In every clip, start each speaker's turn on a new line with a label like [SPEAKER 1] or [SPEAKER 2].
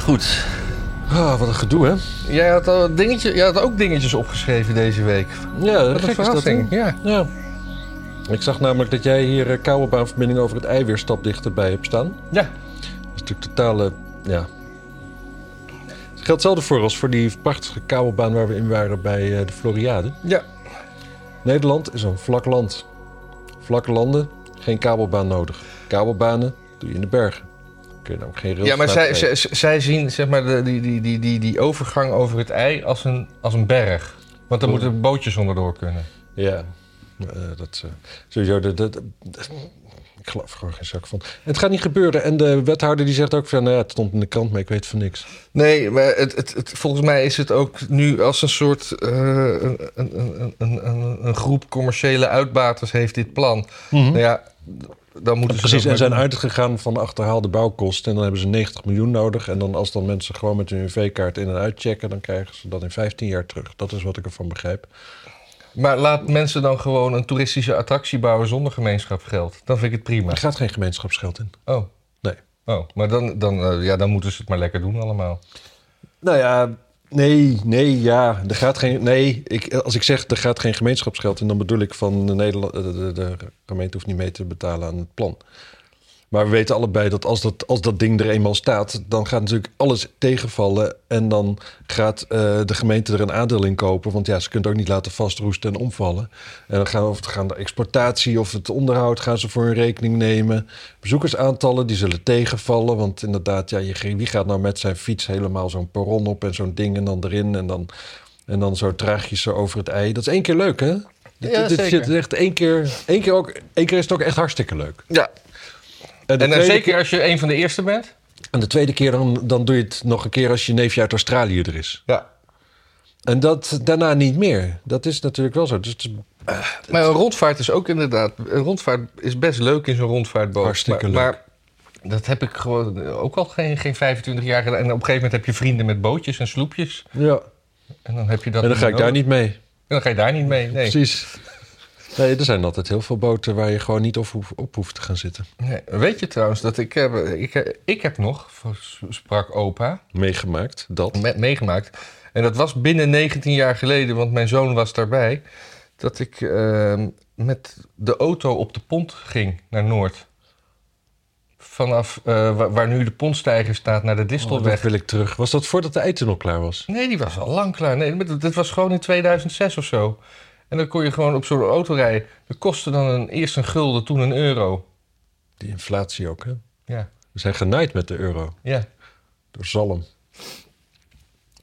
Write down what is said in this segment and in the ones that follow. [SPEAKER 1] Goed.
[SPEAKER 2] Ah, wat een gedoe, hè?
[SPEAKER 1] Jij had, al dingetje, jij had ook dingetjes opgeschreven deze week.
[SPEAKER 2] Ja,
[SPEAKER 1] Wat een verrassing. ja.
[SPEAKER 2] Ja. Ik zag namelijk dat jij hier eh, kabelbaanverbinding over het ei weer stap dichterbij hebt staan.
[SPEAKER 1] ja.
[SPEAKER 2] Dat is natuurlijk totale, ja... Het geldt hetzelfde voor als voor die prachtige kabelbaan waar we in waren bij eh, de Floriade.
[SPEAKER 1] Ja.
[SPEAKER 2] Nederland is een vlak land. Vlakke landen, geen kabelbaan nodig. Kabelbanen doe je in de bergen. Kun je namelijk geen rails
[SPEAKER 1] Ja, maar zij,
[SPEAKER 2] laten
[SPEAKER 1] zij, zij zien zeg maar, de, die, die, die, die, die overgang over het ei als een, als een berg. Want daar
[SPEAKER 2] Oeh.
[SPEAKER 1] moeten bootjes onderdoor kunnen.
[SPEAKER 2] Ja, eh, dat eh, sowieso. Dat, dat- dat- ik geloof er gewoon geen zak van. Het gaat niet gebeuren. En de wethouder die zegt ook van, nou ja, het stond in de krant, maar ik weet van niks. Dus
[SPEAKER 1] Nee, maar het, het, het, volgens mij is het ook nu als een soort eh, een, een, een, een, een- een groep commerciële uitbaters heeft dit plan. Nou ja, dan moeten ze
[SPEAKER 2] Precies,
[SPEAKER 1] dat
[SPEAKER 2] en
[SPEAKER 1] maar
[SPEAKER 2] zijn
[SPEAKER 1] doen.
[SPEAKER 2] uitgegaan van de achterhaalde bouwkosten. En dan hebben ze 90 miljoen nodig. En dan als dan mensen gewoon met hun UV-kaart in en uitchecken... dan krijgen ze dat in 15 jaar terug. Dat is wat ik ervan begrijp.
[SPEAKER 1] Maar laat mensen dan gewoon een toeristische attractie bouwen zonder gemeenschapsgeld. Dan vind ik het prima.
[SPEAKER 2] Er gaat geen gemeenschapsgeld in.
[SPEAKER 1] Oh,
[SPEAKER 2] Nee.
[SPEAKER 1] oh maar dan, dan, eh, ja, dan moeten ze het maar lekker doen allemaal.
[SPEAKER 2] Nou ja, nee, nee, ja. Er gaat geen, nee, ik, als ik zeg er gaat geen gemeenschapsgeld in, dan bedoel ik van de, Nederland, de, de, de gemeente hoeft niet mee te betalen aan het plan. Maar we weten allebei dat als dat, als dat ding er eenmaal staat, dan gaat natuurlijk alles tegenvallen. En dan gaat eh, de gemeente er een aandeel in kopen. Want ja, ze kunnen het ook niet laten vastroesten en omvallen. En dan gaan, of het gaan de exploitatie of het onderhoud gaan ze voor hun rekening nemen. Bezoekersaantallen die zullen tegenvallen. Want inderdaad, ja, je, wie gaat nou met zijn fiets helemaal zo'n perron op en zo'n ding en dan erin en dan, en dan zo traagjes zo over het ei. Dat is één keer leuk, hè? Dit,
[SPEAKER 1] Ja,
[SPEAKER 2] dit
[SPEAKER 1] zeker.
[SPEAKER 2] zit echt één keer, één keer ook, één keer is het ook echt hartstikke leuk.
[SPEAKER 1] Ja,
[SPEAKER 2] de
[SPEAKER 1] en dan
[SPEAKER 2] tweede
[SPEAKER 1] zeker als je een van de eerste bent.
[SPEAKER 2] en de tweede keer dan, dan doe je het nog een keer als je neefje uit Australië er is.
[SPEAKER 1] Ja.
[SPEAKER 2] En dat daarna niet meer. Dat is natuurlijk wel zo. Dus het is
[SPEAKER 1] Maar een rondvaart is ook inderdaad. Een rondvaart is best leuk in zo'n rondvaartboot.
[SPEAKER 2] Hartstikke
[SPEAKER 1] maar,
[SPEAKER 2] leuk.
[SPEAKER 1] Maar dat heb ik gewoon ook al geen, geen 25 jaar gedaan. En op een gegeven moment heb je vrienden met bootjes en sloepjes.
[SPEAKER 2] ja.
[SPEAKER 1] En dan heb je dat.
[SPEAKER 2] En dan ga ik daar
[SPEAKER 1] nodig.
[SPEAKER 2] niet mee.
[SPEAKER 1] En dan ga je daar niet mee. Nee.
[SPEAKER 2] Precies. Nee, er zijn altijd heel veel boten waar je gewoon niet op, hoef- op hoeft te gaan zitten.
[SPEAKER 1] Nee. Weet je trouwens dat ik heb. Ik, ik heb nog, sprak opa,
[SPEAKER 2] Meegemaakt dat.
[SPEAKER 1] me- meegemaakt. En dat was binnen 19 jaar geleden, want mijn zoon was daarbij. Dat ik eh, met de auto op de pont ging naar Noord. Vanaf eh, waar, waar nu de pontstijger staat naar de
[SPEAKER 2] Oh,
[SPEAKER 1] Distelweg.
[SPEAKER 2] dat wil ik terug. Was dat voordat de eiten al klaar was?
[SPEAKER 1] Nee, die was al lang klaar. Nee, maar dat- dit was gewoon in 2006 of zo. En dan kon je gewoon op zo'n auto rijden. Dat kostte dan een, eerst een gulden, toen een euro.
[SPEAKER 2] Die inflatie ook, hè?
[SPEAKER 1] Ja,
[SPEAKER 2] We zijn genaaid met de euro.
[SPEAKER 1] ja.
[SPEAKER 2] Door zalm.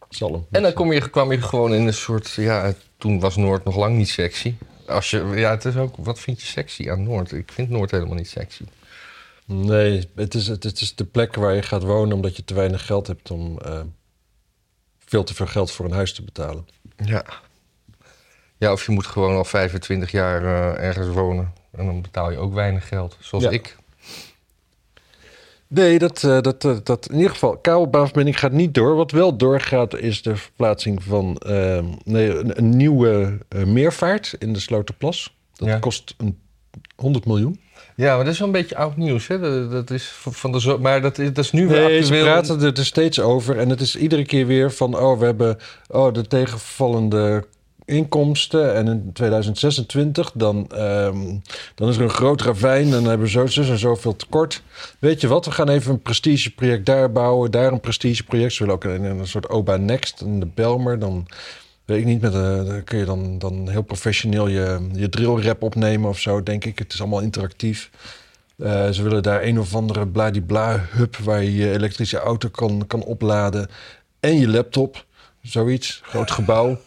[SPEAKER 2] Zalm.
[SPEAKER 1] En dan kom je, kwam je gewoon in een soort... Ja, toen was Noord nog lang niet sexy. Als je, ja, het is ook... Wat vind je sexy aan Noord? Ik vind Noord helemaal niet sexy.
[SPEAKER 2] Nee, het is, het, het is de plek waar je gaat wonen omdat je te weinig geld hebt om eh, veel te veel geld voor een huis te betalen.
[SPEAKER 1] Ja. Ja, of je moet gewoon al 25 jaar eh, ergens wonen. En dan betaal je ook weinig geld, zoals
[SPEAKER 2] Ja.
[SPEAKER 1] ik.
[SPEAKER 2] Nee, dat, eh, dat, eh, dat in ieder geval, kabelbaanverbinding gaat niet door. Wat wel doorgaat is de verplaatsing van eh, nee, een, een nieuwe eh, meervaart in de Sloterplas. Dat
[SPEAKER 1] Ja.
[SPEAKER 2] kost een 100 miljoen.
[SPEAKER 1] Ja, maar dat is wel een beetje oud nieuws, hè? Dat, dat is van van de zo maar dat is, dat is nu weer
[SPEAKER 2] Nee, ze
[SPEAKER 1] actueel.
[SPEAKER 2] praten er, er steeds over. En het is iedere keer weer van... oh, we hebben oh, de tegenvallende inkomsten. En in 2026 dan, ehm, dan is er een groot ravijn. En dan hebben we zo, zo en zoveel tekort. Weet je wat, we gaan even een prestigeproject daar bouwen. Daar een prestigeproject. Ze willen ook een, een soort OBA Next en de Belmer. Dan weet ik niet, met een, dan kun je dan, dan heel professioneel je, je drillrap opnemen of zo, denk ik. Het is allemaal interactief. Eh, ze willen daar een of andere bladibla-hub waar je je elektrische auto kan, kan opladen. En je laptop, zoiets. Groot gebouw.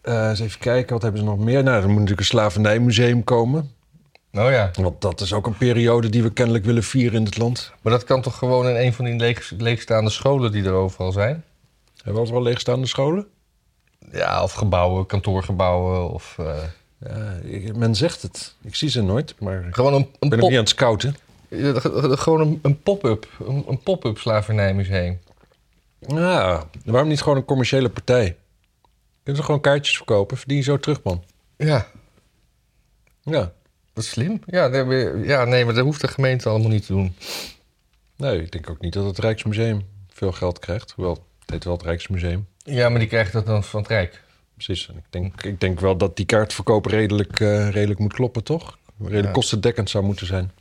[SPEAKER 2] Eh, eens even kijken, wat hebben ze nog meer? Nou, er moet natuurlijk een slavernijmuseum komen.
[SPEAKER 1] Nou ja,
[SPEAKER 2] Want dat is ook een periode die we kennelijk willen vieren in het land.
[SPEAKER 1] maar dat kan toch gewoon in een van die leeg, leegstaande scholen die er overal zijn?
[SPEAKER 2] Hebben we altijd wel leegstaande scholen?
[SPEAKER 1] Ja, of gebouwen, kantoorgebouwen of... eh,
[SPEAKER 2] Ja, ik- men zegt het. Ik zie ze nooit, maar ik
[SPEAKER 1] gewoon een, een
[SPEAKER 2] ben ook
[SPEAKER 1] pop-
[SPEAKER 2] niet aan het scouten.
[SPEAKER 1] Ja, ge- ge- Gewoon een, een pop-up. Een, een pop-up slavernijmuseum.
[SPEAKER 2] Ja, waarom niet gewoon een commerciële partij? Kunnen ze gewoon kaartjes verkopen? Verdien je zo terug, man.
[SPEAKER 1] Ja.
[SPEAKER 2] Ja.
[SPEAKER 1] Dat is slim. Ja, nee, maar- ja, nee, maar dat hoeft de gemeente allemaal niet te doen.
[SPEAKER 2] Nee, ik denk ook niet dat het Rijksmuseum veel geld krijgt. Hoewel, het heet wel het Rijksmuseum.
[SPEAKER 1] Ja, maar die krijgt dat dan van het Rijk.
[SPEAKER 2] Precies. En ik, denk, ik denk wel dat die kaartverkoop redelijk, eh, redelijk moet kloppen, toch? Redelijk
[SPEAKER 1] Ja.
[SPEAKER 2] kostendekkend zou moeten zijn.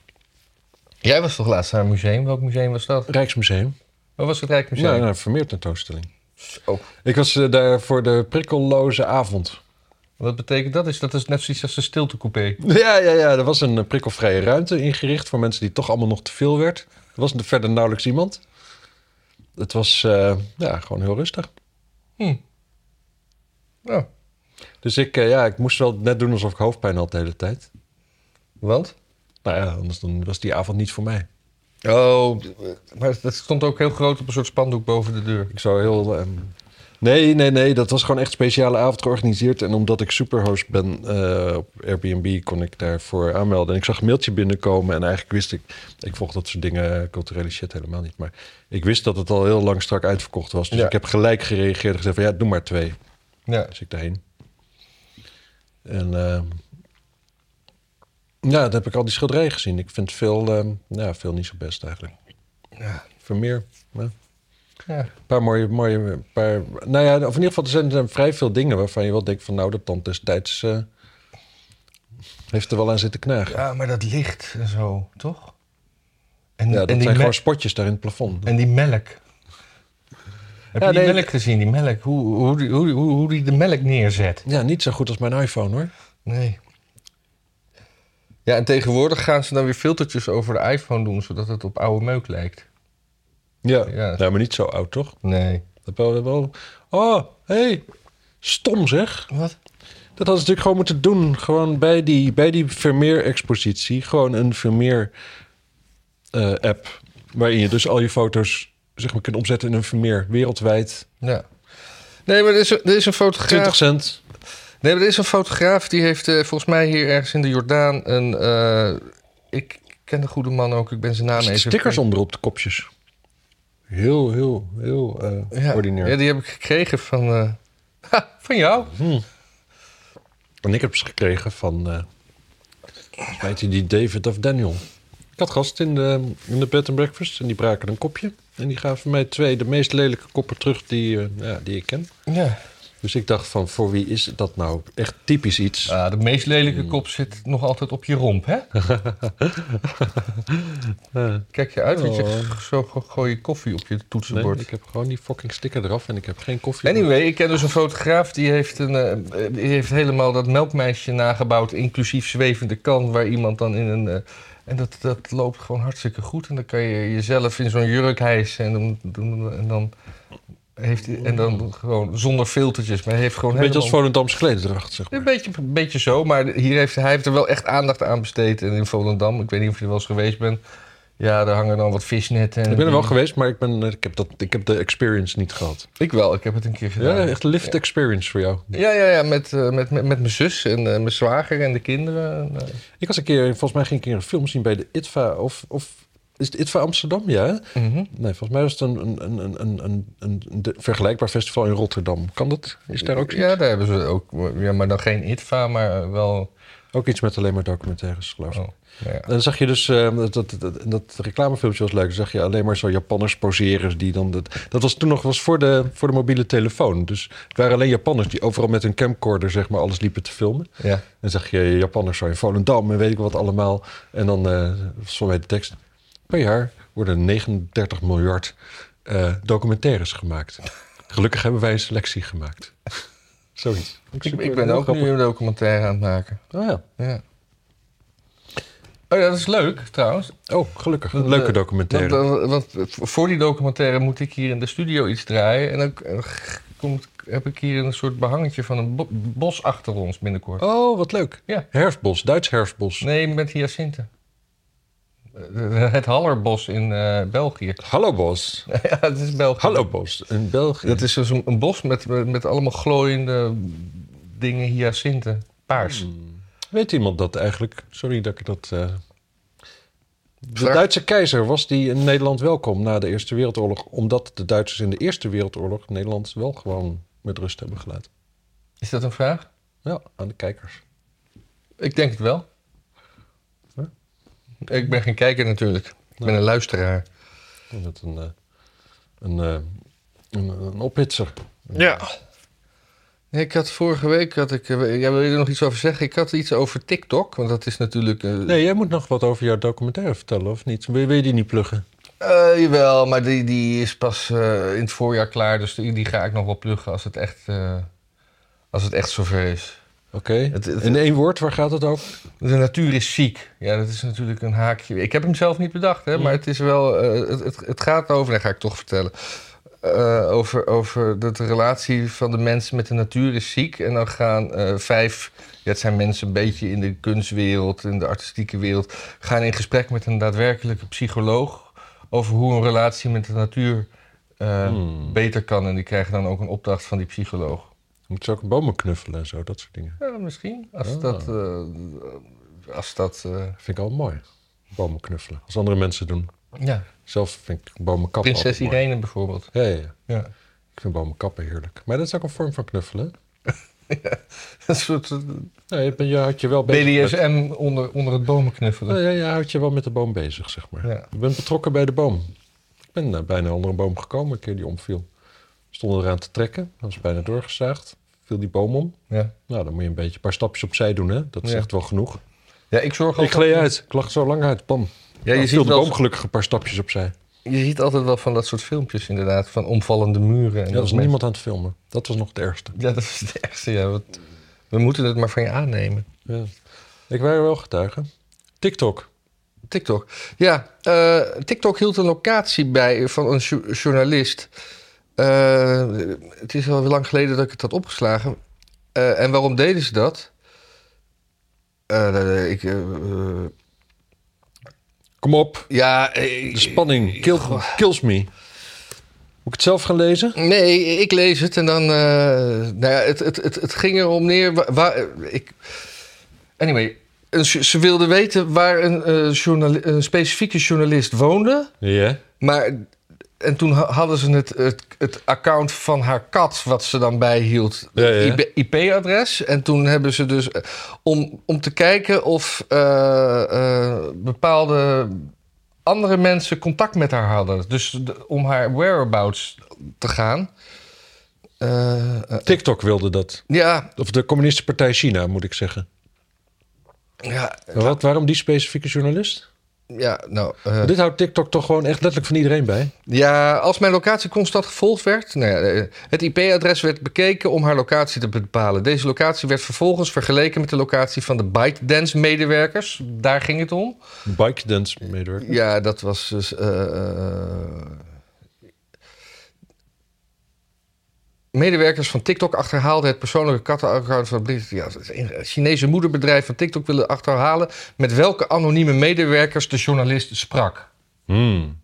[SPEAKER 1] Jij was toch laatst naar een museum? Welk museum was dat?
[SPEAKER 2] Rijksmuseum.
[SPEAKER 1] Wat was het Rijksmuseum?
[SPEAKER 2] Nou, nou, vermeerd tentoonstelling.
[SPEAKER 1] Zo.
[SPEAKER 2] Ik was eh, daar voor de prikkelloze avond.
[SPEAKER 1] Wat betekent dat? Is dat is net zoiets als een stiltecoupé?
[SPEAKER 2] Ja, ja, ja. Er was een eh, prikkelvrije ruimte ingericht voor mensen die toch allemaal nog te veel werd. Er was verder nauwelijks iemand. Het was eh, ja, gewoon heel rustig.
[SPEAKER 1] Hm. Nou,
[SPEAKER 2] Dus ik, eh, ja, ik moest wel net doen alsof ik hoofdpijn had de hele tijd.
[SPEAKER 1] want?
[SPEAKER 2] Nou ja, anders dan was die avond niet voor mij.
[SPEAKER 1] Oh, maar dat stond ook heel groot op een soort spandoek boven de deur.
[SPEAKER 2] Ik zou heel... ehm, Nee, nee, nee. Dat was gewoon echt een speciale avond georganiseerd. En omdat ik superhost ben eh, op Airbnb, kon ik daarvoor aanmelden. En ik zag een mailtje binnenkomen. En eigenlijk wist ik... Ik volg dat soort dingen, eh, culturele shit, helemaal niet. Maar ik wist dat het al heel lang strak uitverkocht was. Dus
[SPEAKER 1] Ja.
[SPEAKER 2] ik heb gelijk gereageerd en gezegd van... Ja, doe maar twee.
[SPEAKER 1] Ja.
[SPEAKER 2] Dus ik daarheen. En ehm, ja, dan heb ik al die schilderijen gezien. Ik vind veel, ehm, ja, veel niet zo best eigenlijk.
[SPEAKER 1] Ja.
[SPEAKER 2] Vermeer, ja.
[SPEAKER 1] ja.
[SPEAKER 2] Een paar mooie, mooie, een paar, nou ja, of in ieder geval, er zijn, er zijn vrij veel dingen waarvan je wel denkt van, nou, dat tand destijds eh, heeft er wel aan zitten knagen. Ja,
[SPEAKER 1] Ja, maar dat licht en zo, toch? En,
[SPEAKER 2] dat
[SPEAKER 1] en,
[SPEAKER 2] zijn
[SPEAKER 1] die, me-
[SPEAKER 2] gewoon spotjes daar in het plafond.
[SPEAKER 1] en die melk. Heb
[SPEAKER 2] Ja,
[SPEAKER 1] je die
[SPEAKER 2] nee,
[SPEAKER 1] melk gezien, die melk? Hoe, hoe, die- hoe, hoe, hoe die de melk neerzet?
[SPEAKER 2] Ja, niet zo goed als mijn iPhone, hoor.
[SPEAKER 1] Nee. Ja, en tegenwoordig gaan ze dan weer filtertjes over de iPhone doen, zodat het op oude meuk lijkt.
[SPEAKER 2] Ja,
[SPEAKER 1] Ja.
[SPEAKER 2] Nou, maar niet zo oud, toch?
[SPEAKER 1] Nee.
[SPEAKER 2] Dat wel, wel... Oh, hey, stom zeg.
[SPEAKER 1] Wat?
[SPEAKER 2] Dat hadden ze natuurlijk gewoon moeten doen. Gewoon bij die, bij die Vermeer-expositie. Gewoon een Vermeer-app. waarin je dus al je foto's zeg maar, kunt omzetten in een Vermeer. Wereldwijd.
[SPEAKER 1] Ja. Nee, maar er is, er is een fotograaf.
[SPEAKER 2] 20 cent.
[SPEAKER 1] Nee, maar er is een fotograaf die heeft eh, volgens mij hier ergens in de Jordaan een. eh, ik ken de goede man ook, ik ben zijn naam even.
[SPEAKER 2] Stickers onderop de kopjes. Heel, heel, heel eh,
[SPEAKER 1] ja.
[SPEAKER 2] ordinair.
[SPEAKER 1] Ja, die heb ik gekregen van. eh, ha, van jou?
[SPEAKER 2] En ik heb ze gekregen van... eh volgens mij heet hij die David of Daniel. Ik had gast in de, in de bed and breakfast. En die braken een kopje. En die gaven mij twee de meest lelijke koppen terug die, eh, ja, die ik ken.
[SPEAKER 1] Ja.
[SPEAKER 2] Dus ik dacht van, voor wie is dat nou? Echt typisch iets.
[SPEAKER 1] Ah, de meest
[SPEAKER 2] Hmm.
[SPEAKER 1] lelijke kop zit nog altijd op je romp, hè? Kijk je uit, want je
[SPEAKER 2] Oh.
[SPEAKER 1] g- zo go- gooi je koffie op je
[SPEAKER 2] nee,
[SPEAKER 1] toetsenbord.
[SPEAKER 2] ik heb gewoon die fucking sticker eraf en ik heb geen koffie.
[SPEAKER 1] Anyway, ik ken dus een fotograaf die heeft, een, eh, eh, die heeft helemaal dat melkmeisje nagebouwd, inclusief zwevende kan, waar iemand dan in een. eh, en dat, dat loopt gewoon hartstikke goed. En dan kan je jezelf in zo'n jurk hijsen en dan, dan- en dan heeft hij- en dan gewoon zonder filtertjes. Maar hij heeft gewoon
[SPEAKER 2] Oh. Een beetje als
[SPEAKER 1] helemaal-
[SPEAKER 2] Volendamse klededracht, zeg maar.
[SPEAKER 1] een beetje, een beetje zo, maar hier heeft, hij heeft er wel echt aandacht aan besteed. En in Volendam, ik weet niet of je er wel eens geweest bent, ja, daar hangen dan wat visnetten. en
[SPEAKER 2] Ik ben er wel
[SPEAKER 1] dingen.
[SPEAKER 2] geweest, maar ik, ben, eh, ik, heb, dat, ik heb de experience niet gehad.
[SPEAKER 1] Ik wel, ik heb het een keer gedaan.
[SPEAKER 2] Ja, echt lift experience voor jou.
[SPEAKER 1] Ja, ja, ja met, eh, met, met, met mijn zus en eh, mijn zwager en de kinderen. En, eh,
[SPEAKER 2] Ik was een keer, volgens mij ging ik een keer een film zien bij de ITVA of... of is het ITVA Amsterdam? Ja, hè?
[SPEAKER 1] Mhm.
[SPEAKER 2] Nee, volgens mij was het een, een, een, een, een, een, een de- vergelijkbaar festival in Rotterdam. Kan dat? Is daar ook,
[SPEAKER 1] Ja, daar hebben ze ook. Ja, maar dan geen ITVA, maar eh, wel...
[SPEAKER 2] ook iets met alleen maar documentaires, geloof ik?
[SPEAKER 1] Oh, nou ja.
[SPEAKER 2] En dan zag je dus, eh, dat, dat, dat, dat reclamefilmpje was leuk. Dan zag je alleen maar zo Japanners poseren. Die dan dat, dat was toen nog was voor, de, voor de mobiele telefoon. Dus het waren alleen Japanners die overal met hun camcorder zeg maar, alles liepen te filmen.
[SPEAKER 1] ja.
[SPEAKER 2] En dan zag je eh, Japanners zo in Volendam en weet ik wat allemaal. En dan eh was voor mij de tekst. Per jaar worden 39 miljard eh, documentaires gemaakt. Gelukkig hebben wij een selectie gemaakt. Zoiets.
[SPEAKER 1] Ik, ik ben ook nu een documentaire aan het maken.
[SPEAKER 2] Oh ja.
[SPEAKER 1] Ja. Oh ja, dat is leuk trouwens.
[SPEAKER 2] Oh, gelukkig. Een leuke
[SPEAKER 1] eh,
[SPEAKER 2] documentaire.
[SPEAKER 1] Want, eh, want voor die documentaire moet ik hier in de studio iets draaien. En dan eh, komt, heb ik hier een soort behangetje van een bo- bos achter ons binnenkort.
[SPEAKER 2] Oh, wat leuk.
[SPEAKER 1] eh, Ja.
[SPEAKER 2] Herfstbos, Duits herfstbos.
[SPEAKER 1] Nee, met hyacinten. Eh, Het Hallerbos in eh, België.
[SPEAKER 2] Hallo bos.
[SPEAKER 1] ja, het is België.
[SPEAKER 2] Hallo bos. In België.
[SPEAKER 1] Dat is dus een, een bos met, met allemaal glooiende dingen, hyacinten, paars.
[SPEAKER 2] Hmm. Weet iemand dat eigenlijk? Sorry dat ik dat... eh, De
[SPEAKER 1] Vraag-
[SPEAKER 2] Duitse keizer was die in Nederland welkom na de Eerste Wereldoorlog... omdat de Duitsers in de Eerste Wereldoorlog Nederland wel gewoon met rust hebben gelaten.
[SPEAKER 1] Is dat een vraag?
[SPEAKER 2] Ja, aan de kijkers.
[SPEAKER 1] Ik denk het wel.
[SPEAKER 2] Huh? Nou.
[SPEAKER 1] Ik ben geen kijker natuurlijk. Ik ben een luisteraar.
[SPEAKER 2] Met een, eh, een, eh, een, een ophitser.
[SPEAKER 1] Ja. Ik had vorige week, had ik, eh, ja, wil je er nog iets over zeggen? Ik had iets over TikTok, want dat is natuurlijk... eh,
[SPEAKER 2] Nee, jij moet nog wat over jouw documentaire vertellen, of niet? Wil je, wil je die niet pluggen?
[SPEAKER 1] eh, jawel, maar die, die is pas eh, in het voorjaar klaar, dus die, die ga ik nog wel pluggen als het echt, eh, als het echt zover is.
[SPEAKER 2] Oké.
[SPEAKER 1] Het- het-
[SPEAKER 2] In één woord, waar gaat het over?
[SPEAKER 1] De natuur is ziek. Ja, dat is natuurlijk een haakje. Ik heb hem zelf niet bedacht, hè,
[SPEAKER 2] Mm.
[SPEAKER 1] maar het is wel. eh, het, het, het gaat over, dat ga ik toch vertellen. eh, over over dat de relatie van de mens met de natuur is ziek. En dan gaan eh, vijf. Ja, het zijn mensen een beetje in de kunstwereld, in de artistieke wereld. gaan in gesprek met een daadwerkelijke psycholoog. over hoe een relatie met de natuur eh,
[SPEAKER 2] Hmm.
[SPEAKER 1] beter kan. En die krijgen dan ook een opdracht van die psycholoog.
[SPEAKER 2] Moet ze ook bomen knuffelen en zo, dat soort dingen.
[SPEAKER 1] Ja, misschien. Als
[SPEAKER 2] Ah.
[SPEAKER 1] dat. eh, als dat. eh,
[SPEAKER 2] Vind ik al mooi. Bomen knuffelen. Als andere mensen doen.
[SPEAKER 1] ja.
[SPEAKER 2] Zelf vind ik bomen kappen
[SPEAKER 1] Prinses
[SPEAKER 2] altijd mooi.
[SPEAKER 1] Irene bijvoorbeeld.
[SPEAKER 2] Ja, ja, ja.
[SPEAKER 1] Ja.
[SPEAKER 2] Ik vind bomen kappen heerlijk. Maar dat is ook een vorm van knuffelen. hè?
[SPEAKER 1] Een soort eh,
[SPEAKER 2] Nou, je, bent- je houdt je wel bezig. met-
[SPEAKER 1] BDSM onder, onder het bomen
[SPEAKER 2] Nou
[SPEAKER 1] knuffelen.
[SPEAKER 2] ja, je houdt je wel met de boom bezig, zeg maar.
[SPEAKER 1] Ja.
[SPEAKER 2] Je bent betrokken bij de boom. Ik ben eh, bijna onder een boom gekomen, een keer die omviel. We stonden eraan te trekken, was bijna doorgezaagd. Viel die boom om.
[SPEAKER 1] Ja.
[SPEAKER 2] Nou, dan moet je een beetje een paar stapjes opzij doen, hè. Dat is
[SPEAKER 1] Ja.
[SPEAKER 2] echt wel genoeg.
[SPEAKER 1] ja, ik zorg
[SPEAKER 2] Ik
[SPEAKER 1] ook.
[SPEAKER 2] gleed uit. Ik lag zo lang uit. Bam.
[SPEAKER 1] Ja,
[SPEAKER 2] Nou,
[SPEAKER 1] je,
[SPEAKER 2] viel
[SPEAKER 1] ziet
[SPEAKER 2] de
[SPEAKER 1] wel,
[SPEAKER 2] boom gelukkig een paar stapjes opzij.
[SPEAKER 1] je ziet altijd wel van dat soort filmpjes inderdaad. Van omvallende muren. En
[SPEAKER 2] Ja, er was
[SPEAKER 1] mensen-
[SPEAKER 2] niemand aan het filmen. Dat was nog het ergste.
[SPEAKER 1] Ja, dat is het ergste. Ja, want we moeten het maar van je aannemen.
[SPEAKER 2] Ja. Ik waren wel getuigen. TikTok.
[SPEAKER 1] TikTok. Ja, eh, TikTok hield een locatie bij van een jo- journalist. Eh, het is al lang geleden dat ik het had opgeslagen. Eh, en waarom deden ze dat? Eh, ik, eh, eh,
[SPEAKER 2] Kom op.
[SPEAKER 1] ja, eh,
[SPEAKER 2] De spanning kill, kills me. Moet ik het zelf gaan lezen?
[SPEAKER 1] Nee, ik lees het en dan. eh, nou ja, het, het, het, het ging erom neer. wa- Waar, ik, anyway, een jo- ze wilden weten waar een, eh, journali- een specifieke journalist woonde.
[SPEAKER 2] Ja.
[SPEAKER 1] Maar. En toen ha- hadden ze het, het, het account van haar kat, wat ze dan bijhield,
[SPEAKER 2] Ja, ja.
[SPEAKER 1] IP-adres. En toen hebben ze dus. eh, Om, om te kijken of eh, eh, bepaalde andere mensen contact met haar hadden. Dus de- om haar whereabouts te gaan. Eh, eh,
[SPEAKER 2] TikTok wilde dat.
[SPEAKER 1] ja,
[SPEAKER 2] Of de Communistische Partij China, moet ik zeggen.
[SPEAKER 1] ja,
[SPEAKER 2] Maar Wat, waarom die specifieke journalist?
[SPEAKER 1] ja, nou. eh,
[SPEAKER 2] Dit houdt TikTok toch gewoon echt letterlijk van iedereen bij?
[SPEAKER 1] Ja, als mijn locatie constant gevolgd werd. Nou ja, eh, het IP-adres werd bekeken om haar locatie te bepalen. Deze locatie werd vervolgens vergeleken met de locatie van de ByteDance-medewerkers. Daar ging het om.
[SPEAKER 2] ByteDance medewerker.
[SPEAKER 1] Ja, dat was dus. eh, eh, Medewerkers van TikTok achterhaalden het persoonlijke kattenaccount van het ja, het is een eh, Chinese moederbedrijf van TikTok willen achterhalen met welke anonieme medewerkers de journalist sprak.
[SPEAKER 2] Hmm.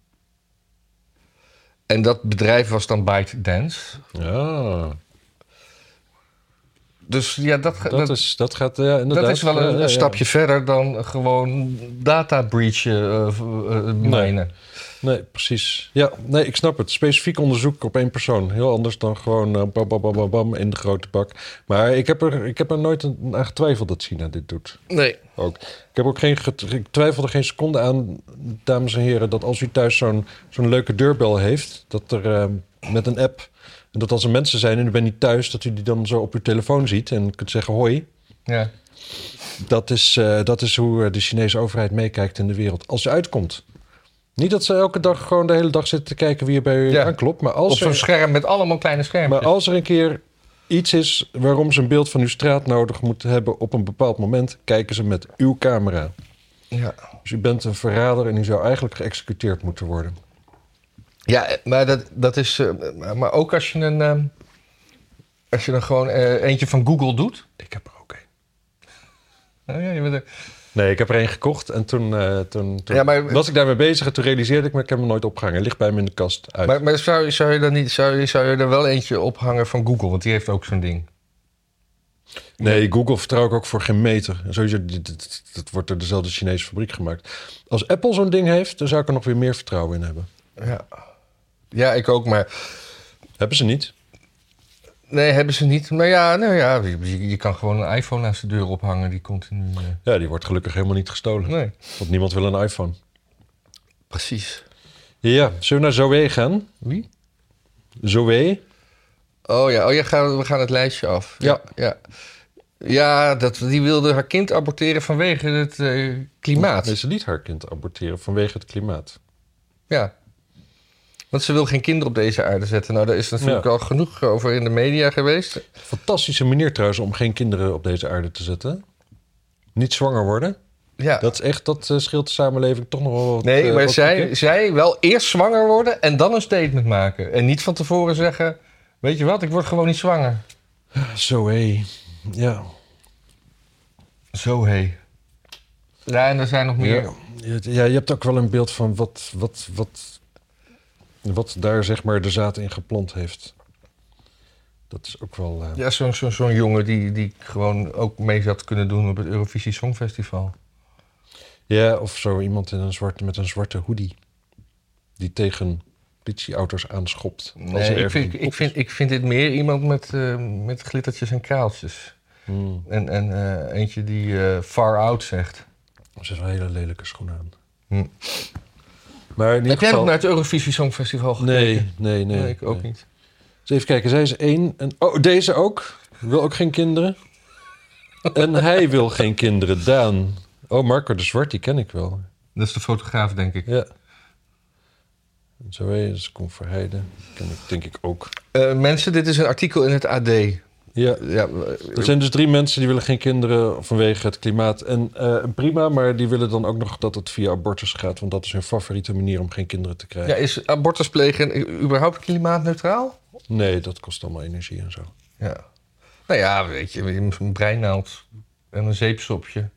[SPEAKER 1] En dat bedrijf was dan ByteDance.
[SPEAKER 2] Ja,
[SPEAKER 1] Dus ja, dat, ga-
[SPEAKER 2] dat,
[SPEAKER 1] dat, dat,
[SPEAKER 2] is, dat gaat ja, inderdaad.
[SPEAKER 1] is wel
[SPEAKER 2] Ja,
[SPEAKER 1] een,
[SPEAKER 2] ja, ja.
[SPEAKER 1] een stapje verder dan gewoon data breachen eh, v- eh, menen.
[SPEAKER 2] Nee, precies. Ja, nee, ik snap het. Specifiek onderzoek op één persoon. Heel anders dan gewoon eh, bam, bam, bam, bam, bam in de grote bak. Maar ik heb er, ik heb er nooit aan aan getwijfeld dat China dit doet.
[SPEAKER 1] Nee.
[SPEAKER 2] Ook. Ik, heb ook geen get- ik twijfel er geen seconde aan, dames en heren, dat als u thuis zo'n zo'n leuke deurbel heeft, dat er eh, met een app, en dat als er mensen zijn en u bent niet thuis, dat u die dan zo op uw telefoon ziet en kunt zeggen hoi.
[SPEAKER 1] Ja.
[SPEAKER 2] Dat is, eh, dat is hoe eh, de Chinese overheid meekijkt in de wereld als ze uitkomt. Niet dat ze elke dag gewoon de hele dag zitten te kijken wie er bij u
[SPEAKER 1] Ja.
[SPEAKER 2] aanklopt, maar
[SPEAKER 1] Op
[SPEAKER 2] als,
[SPEAKER 1] zo'n
[SPEAKER 2] er,
[SPEAKER 1] scherm met allemaal kleine
[SPEAKER 2] maar
[SPEAKER 1] schermpjes.
[SPEAKER 2] als er een keer iets is waarom ze een beeld van uw straat nodig moeten hebben op een bepaald moment, kijken ze met uw camera.
[SPEAKER 1] ja.
[SPEAKER 2] Dus u bent een verrader en u zou eigenlijk geëxecuteerd moeten worden.
[SPEAKER 1] ja, eh, maar dat, dat is. eh, maar- maar ook als je een. ehm, als je dan gewoon eh, eentje van Google doet.
[SPEAKER 2] Ik heb er ook één.
[SPEAKER 1] Nou ja, je bent er-
[SPEAKER 2] Nee, ik heb er één gekocht en toen, eh, toen, toen
[SPEAKER 1] Ja, maar-
[SPEAKER 2] was ik daarmee bezig en toen realiseerde ik me, ik heb hem nooit opgehangen. Hij ligt bij me in de kast uit.
[SPEAKER 1] maar maar zou, je- zou, je dan niet, zou, je, zou je er wel eentje ophangen van Google? Want die heeft ook zo'n ding.
[SPEAKER 2] nee, Google vertrouw ik ook voor geen meter. En Sowieso, dit- dit- dat wordt door dezelfde Chinese fabriek gemaakt. Als Apple zo'n ding heeft, dan zou ik er nog weer meer vertrouwen in hebben.
[SPEAKER 1] Ja. Ja, ik ook, maar
[SPEAKER 2] Hebben ze niet.
[SPEAKER 1] Nee, hebben ze niet. Maar ja, nou ja je, je kan gewoon een iPhone naast de deur ophangen. Die continu... eh,
[SPEAKER 2] Ja, die wordt gelukkig helemaal niet gestolen.
[SPEAKER 1] Nee.
[SPEAKER 2] Want niemand wil een iPhone.
[SPEAKER 1] Precies.
[SPEAKER 2] Ja, zullen we naar Zoe gaan?
[SPEAKER 1] Wie?
[SPEAKER 2] Zoé.
[SPEAKER 1] Oh ja, oh, ja ga- we gaan het lijstje af.
[SPEAKER 2] Ja.
[SPEAKER 1] Ja, ja dat, die wilde haar kind aborteren vanwege het eh, klimaat.
[SPEAKER 2] Nee, ze liet haar kind aborteren vanwege het klimaat.
[SPEAKER 1] Ja. Want ze wil geen kinderen op deze aarde zetten. Nou, daar is natuurlijk
[SPEAKER 2] Ja.
[SPEAKER 1] al genoeg over in de media geweest.
[SPEAKER 2] Fantastische manier trouwens om geen kinderen op deze aarde te zetten. Niet zwanger worden.
[SPEAKER 1] Ja.
[SPEAKER 2] Dat is echt, dat eh, scheelt de samenleving toch nog wel wat.
[SPEAKER 1] nee,
[SPEAKER 2] eh,
[SPEAKER 1] maar
[SPEAKER 2] wat
[SPEAKER 1] zij,
[SPEAKER 2] gekeken.
[SPEAKER 1] zij wel eerst zwanger worden en dan een statement maken. En niet van tevoren zeggen, weet je wat, ik word gewoon niet zwanger.
[SPEAKER 2] Ah, Zo hé. Ja.
[SPEAKER 1] Zo hé. Ja, en er zijn nog meer.
[SPEAKER 2] Ja. ja, je hebt ook wel een beeld van wat, wat, wat, wat daar zeg maar de zaad in geplant heeft. Dat is ook wel... eh,
[SPEAKER 1] Ja, zo'n zo'n zo'n jongen die, die gewoon ook mee zou kunnen doen op het Eurovisie Songfestival.
[SPEAKER 2] Ja, of zo iemand in een zwarte, met een zwarte hoodie. Die tegen politieauto's aanschopt. als
[SPEAKER 1] Nee,
[SPEAKER 2] er
[SPEAKER 1] ik,
[SPEAKER 2] ergens
[SPEAKER 1] vind,
[SPEAKER 2] een
[SPEAKER 1] ik,
[SPEAKER 2] kop
[SPEAKER 1] vind,
[SPEAKER 2] is.
[SPEAKER 1] ik vind dit meer iemand met, eh, met glittertjes en kraaltjes.
[SPEAKER 2] Hmm.
[SPEAKER 1] En, en eh, eentje die eh, far out zegt.
[SPEAKER 2] Ze heeft wel hele lelijke schoenen aan.
[SPEAKER 1] Hm.
[SPEAKER 2] Maar in ieder
[SPEAKER 1] Heb jij nog
[SPEAKER 2] geval...
[SPEAKER 1] naar het Eurovisie Songfestival gekeken?
[SPEAKER 2] Nee, nee, nee.
[SPEAKER 1] Nee, ik ook
[SPEAKER 2] nee.
[SPEAKER 1] niet.
[SPEAKER 2] Dus even kijken, zij is één. En... Oh, deze ook. Wil ook geen kinderen. en hij wil geen kinderen, Daan. Oh, Marco de Zwart, die ken ik wel.
[SPEAKER 1] Dat is de fotograaf, denk ik.
[SPEAKER 2] Ja. Zo is Koen Verheijden. Ken ik denk ik ook.
[SPEAKER 1] Eh, mensen, dit is een artikel in het AD.
[SPEAKER 2] Ja,
[SPEAKER 1] Ja, eh,
[SPEAKER 2] Er zijn dus drie mensen die willen geen kinderen vanwege het klimaat. En eh, prima, maar die willen dan ook nog dat het via abortus gaat. Want dat is hun favoriete manier om geen kinderen te krijgen.
[SPEAKER 1] ja, is abortus plegen überhaupt klimaatneutraal?
[SPEAKER 2] Nee, dat kost allemaal energie en zo.
[SPEAKER 1] Ja. Nou ja, weet je, een breinaald en een zeepsopje.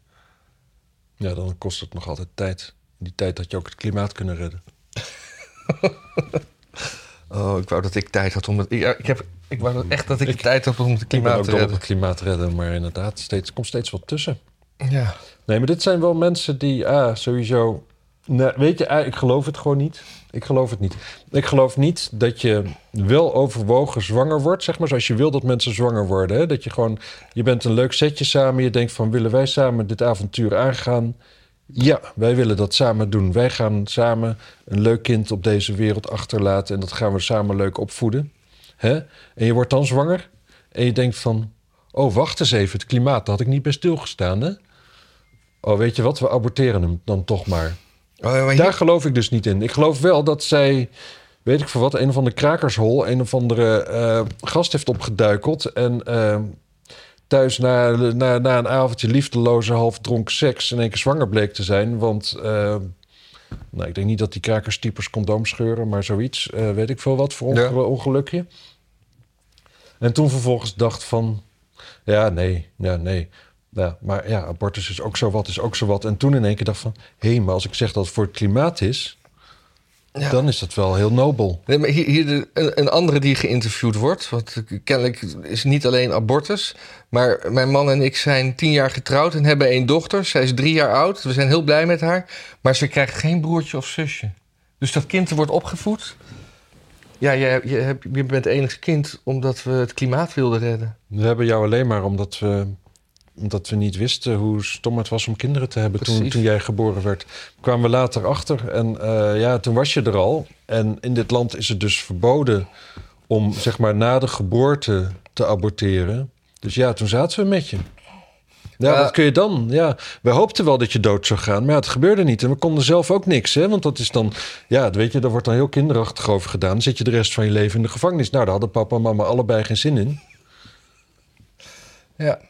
[SPEAKER 2] Ja, dan kost het nog altijd tijd. Die tijd dat je ook het klimaat kunnen redden.
[SPEAKER 1] Oh, ik wou dat ik tijd had om het... Ja, ik, heb, ik wou dat echt dat ik, de tijd had om het
[SPEAKER 2] Ik ben
[SPEAKER 1] klimaat
[SPEAKER 2] ook
[SPEAKER 1] te
[SPEAKER 2] dol op
[SPEAKER 1] redden.
[SPEAKER 2] het klimaat redden, maar inderdaad, steeds, komt steeds wat tussen.
[SPEAKER 1] Ja.
[SPEAKER 2] Nee, maar dit zijn wel mensen die, ah, sowieso... Nee, weet je, ah, ik geloof het gewoon niet. Ik geloof het niet. Ik geloof niet dat je wel overwogen zwanger wordt, zeg maar, zoals je wil dat mensen zwanger worden. Hè? Dat je gewoon, je bent een leuk setje samen, je denkt van, willen wij samen dit avontuur aangaan? Ja, wij willen dat samen doen. Wij gaan samen een leuk kind op deze wereld achterlaten en dat gaan we samen leuk opvoeden. Hè? En je wordt dan zwanger en je denkt van, oh, wacht eens even, het klimaat, daar had ik niet bij stilgestaan, hè? Oh, weet je wat, we aborteren hem dan toch maar.
[SPEAKER 1] Oh, ja, maar
[SPEAKER 2] Daar geloof ik dus niet in. Ik geloof wel dat zij, weet ik veel wat, een of andere krakershol, een of andere eh, gast heeft opgeduikeld. En eh, thuis na, na, na een avondje liefdeloze, half dronken seks in één keer zwanger bleek te zijn. Want eh, nou, ik denk niet dat die krakerstypers condoom scheuren, maar zoiets, eh, weet ik veel wat voor onge-
[SPEAKER 1] Ja.
[SPEAKER 2] ongelukje. En toen vervolgens dacht van, ja, nee, ja, nee. Ja, maar ja, abortus is ook zo wat, is ook zo wat. En toen in één keer dacht van... hé, maar als ik zeg dat het voor het klimaat is...
[SPEAKER 1] Ja.
[SPEAKER 2] dan is dat wel heel nobel.
[SPEAKER 1] Nee, maar hier, hier de- een, een andere die geïnterviewd wordt. Want kennelijk is niet alleen abortus. Maar mijn man en ik zijn tien jaar getrouwd en hebben één dochter. Zij is drie jaar oud. We zijn heel blij met haar. Maar ze krijgt geen broertje of zusje. Dus dat kind wordt opgevoed. Ja, je, je, hebt- je bent enig kind omdat we het klimaat wilden redden.
[SPEAKER 2] We hebben jou alleen maar omdat we, omdat we niet wisten hoe stom het was om kinderen te hebben toen,
[SPEAKER 1] Precies.
[SPEAKER 2] toen jij geboren werd. Kwamen we later achter en eh, ja, toen was je er al. En in dit land is het dus verboden om zeg maar na de geboorte te aborteren. Dus ja, toen zaten we met je. Ja,
[SPEAKER 1] Ja.
[SPEAKER 2] wat kun je dan? Ja, we hoopten wel dat je dood zou gaan, maar ja, het gebeurde niet. En we konden zelf ook niks, hè? Want dat is dan, ja, weet je, daar wordt dan heel kinderachtig over gedaan. Dan zit je de rest van je leven in de gevangenis. Nou, daar hadden papa en mama allebei geen zin in.
[SPEAKER 1] Ja.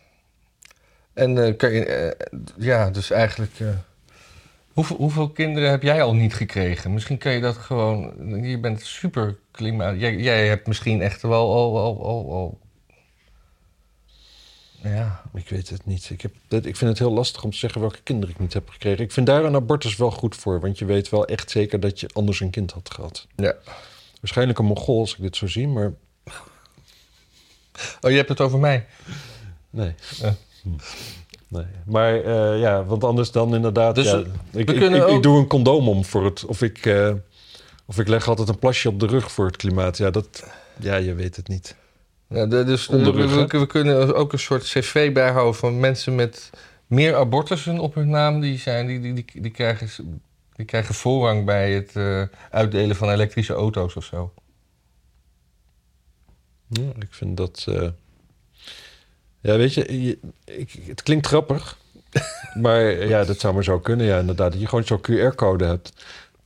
[SPEAKER 1] En eh, kan je, eh, ja, dus eigenlijk. eh, hoeveel, hoeveel kinderen heb jij al niet gekregen? Misschien kan je dat gewoon. Je bent super klimaat. Jij, jij hebt misschien echt wel al. al, al, al ja.
[SPEAKER 2] Ik weet het niet. Ik, heb, dat- ik vind het heel lastig om te zeggen welke kinderen ik niet heb gekregen. Ik vind daar een abortus wel goed voor. Want je weet wel echt zeker dat je anders een kind had gehad.
[SPEAKER 1] ja.
[SPEAKER 2] Waarschijnlijk een Mongool als ik dit zo zie, maar
[SPEAKER 1] Oh, je hebt het over mij.
[SPEAKER 2] nee.
[SPEAKER 1] Ja.
[SPEAKER 2] Hm. nee. Maar eh, ja, want anders dan inderdaad...
[SPEAKER 1] Dus
[SPEAKER 2] ja,
[SPEAKER 1] we-
[SPEAKER 2] ik,
[SPEAKER 1] we
[SPEAKER 2] ik,
[SPEAKER 1] kunnen
[SPEAKER 2] ik, ik
[SPEAKER 1] ook-
[SPEAKER 2] doe een condoom om voor het... Of ik, eh, of ik leg altijd een plasje op de rug voor het klimaat. Ja, dat, ja je weet het niet.
[SPEAKER 1] Ja, de- dus we,
[SPEAKER 2] Onderrug, hè?
[SPEAKER 1] we- we kunnen ook een soort cv bijhouden van mensen met meer abortussen op hun naam. Die, zijn, die, die, die, die, krijgen, die krijgen voorrang bij het eh, uitdelen van elektrische auto's of zo.
[SPEAKER 2] Ja, ik vind dat. eh, Ja, weet je, je- ik, het klinkt grappig. maar eh, ja, dat zou maar zo kunnen. Ja, inderdaad. Dat je gewoon zo'n QR-code hebt.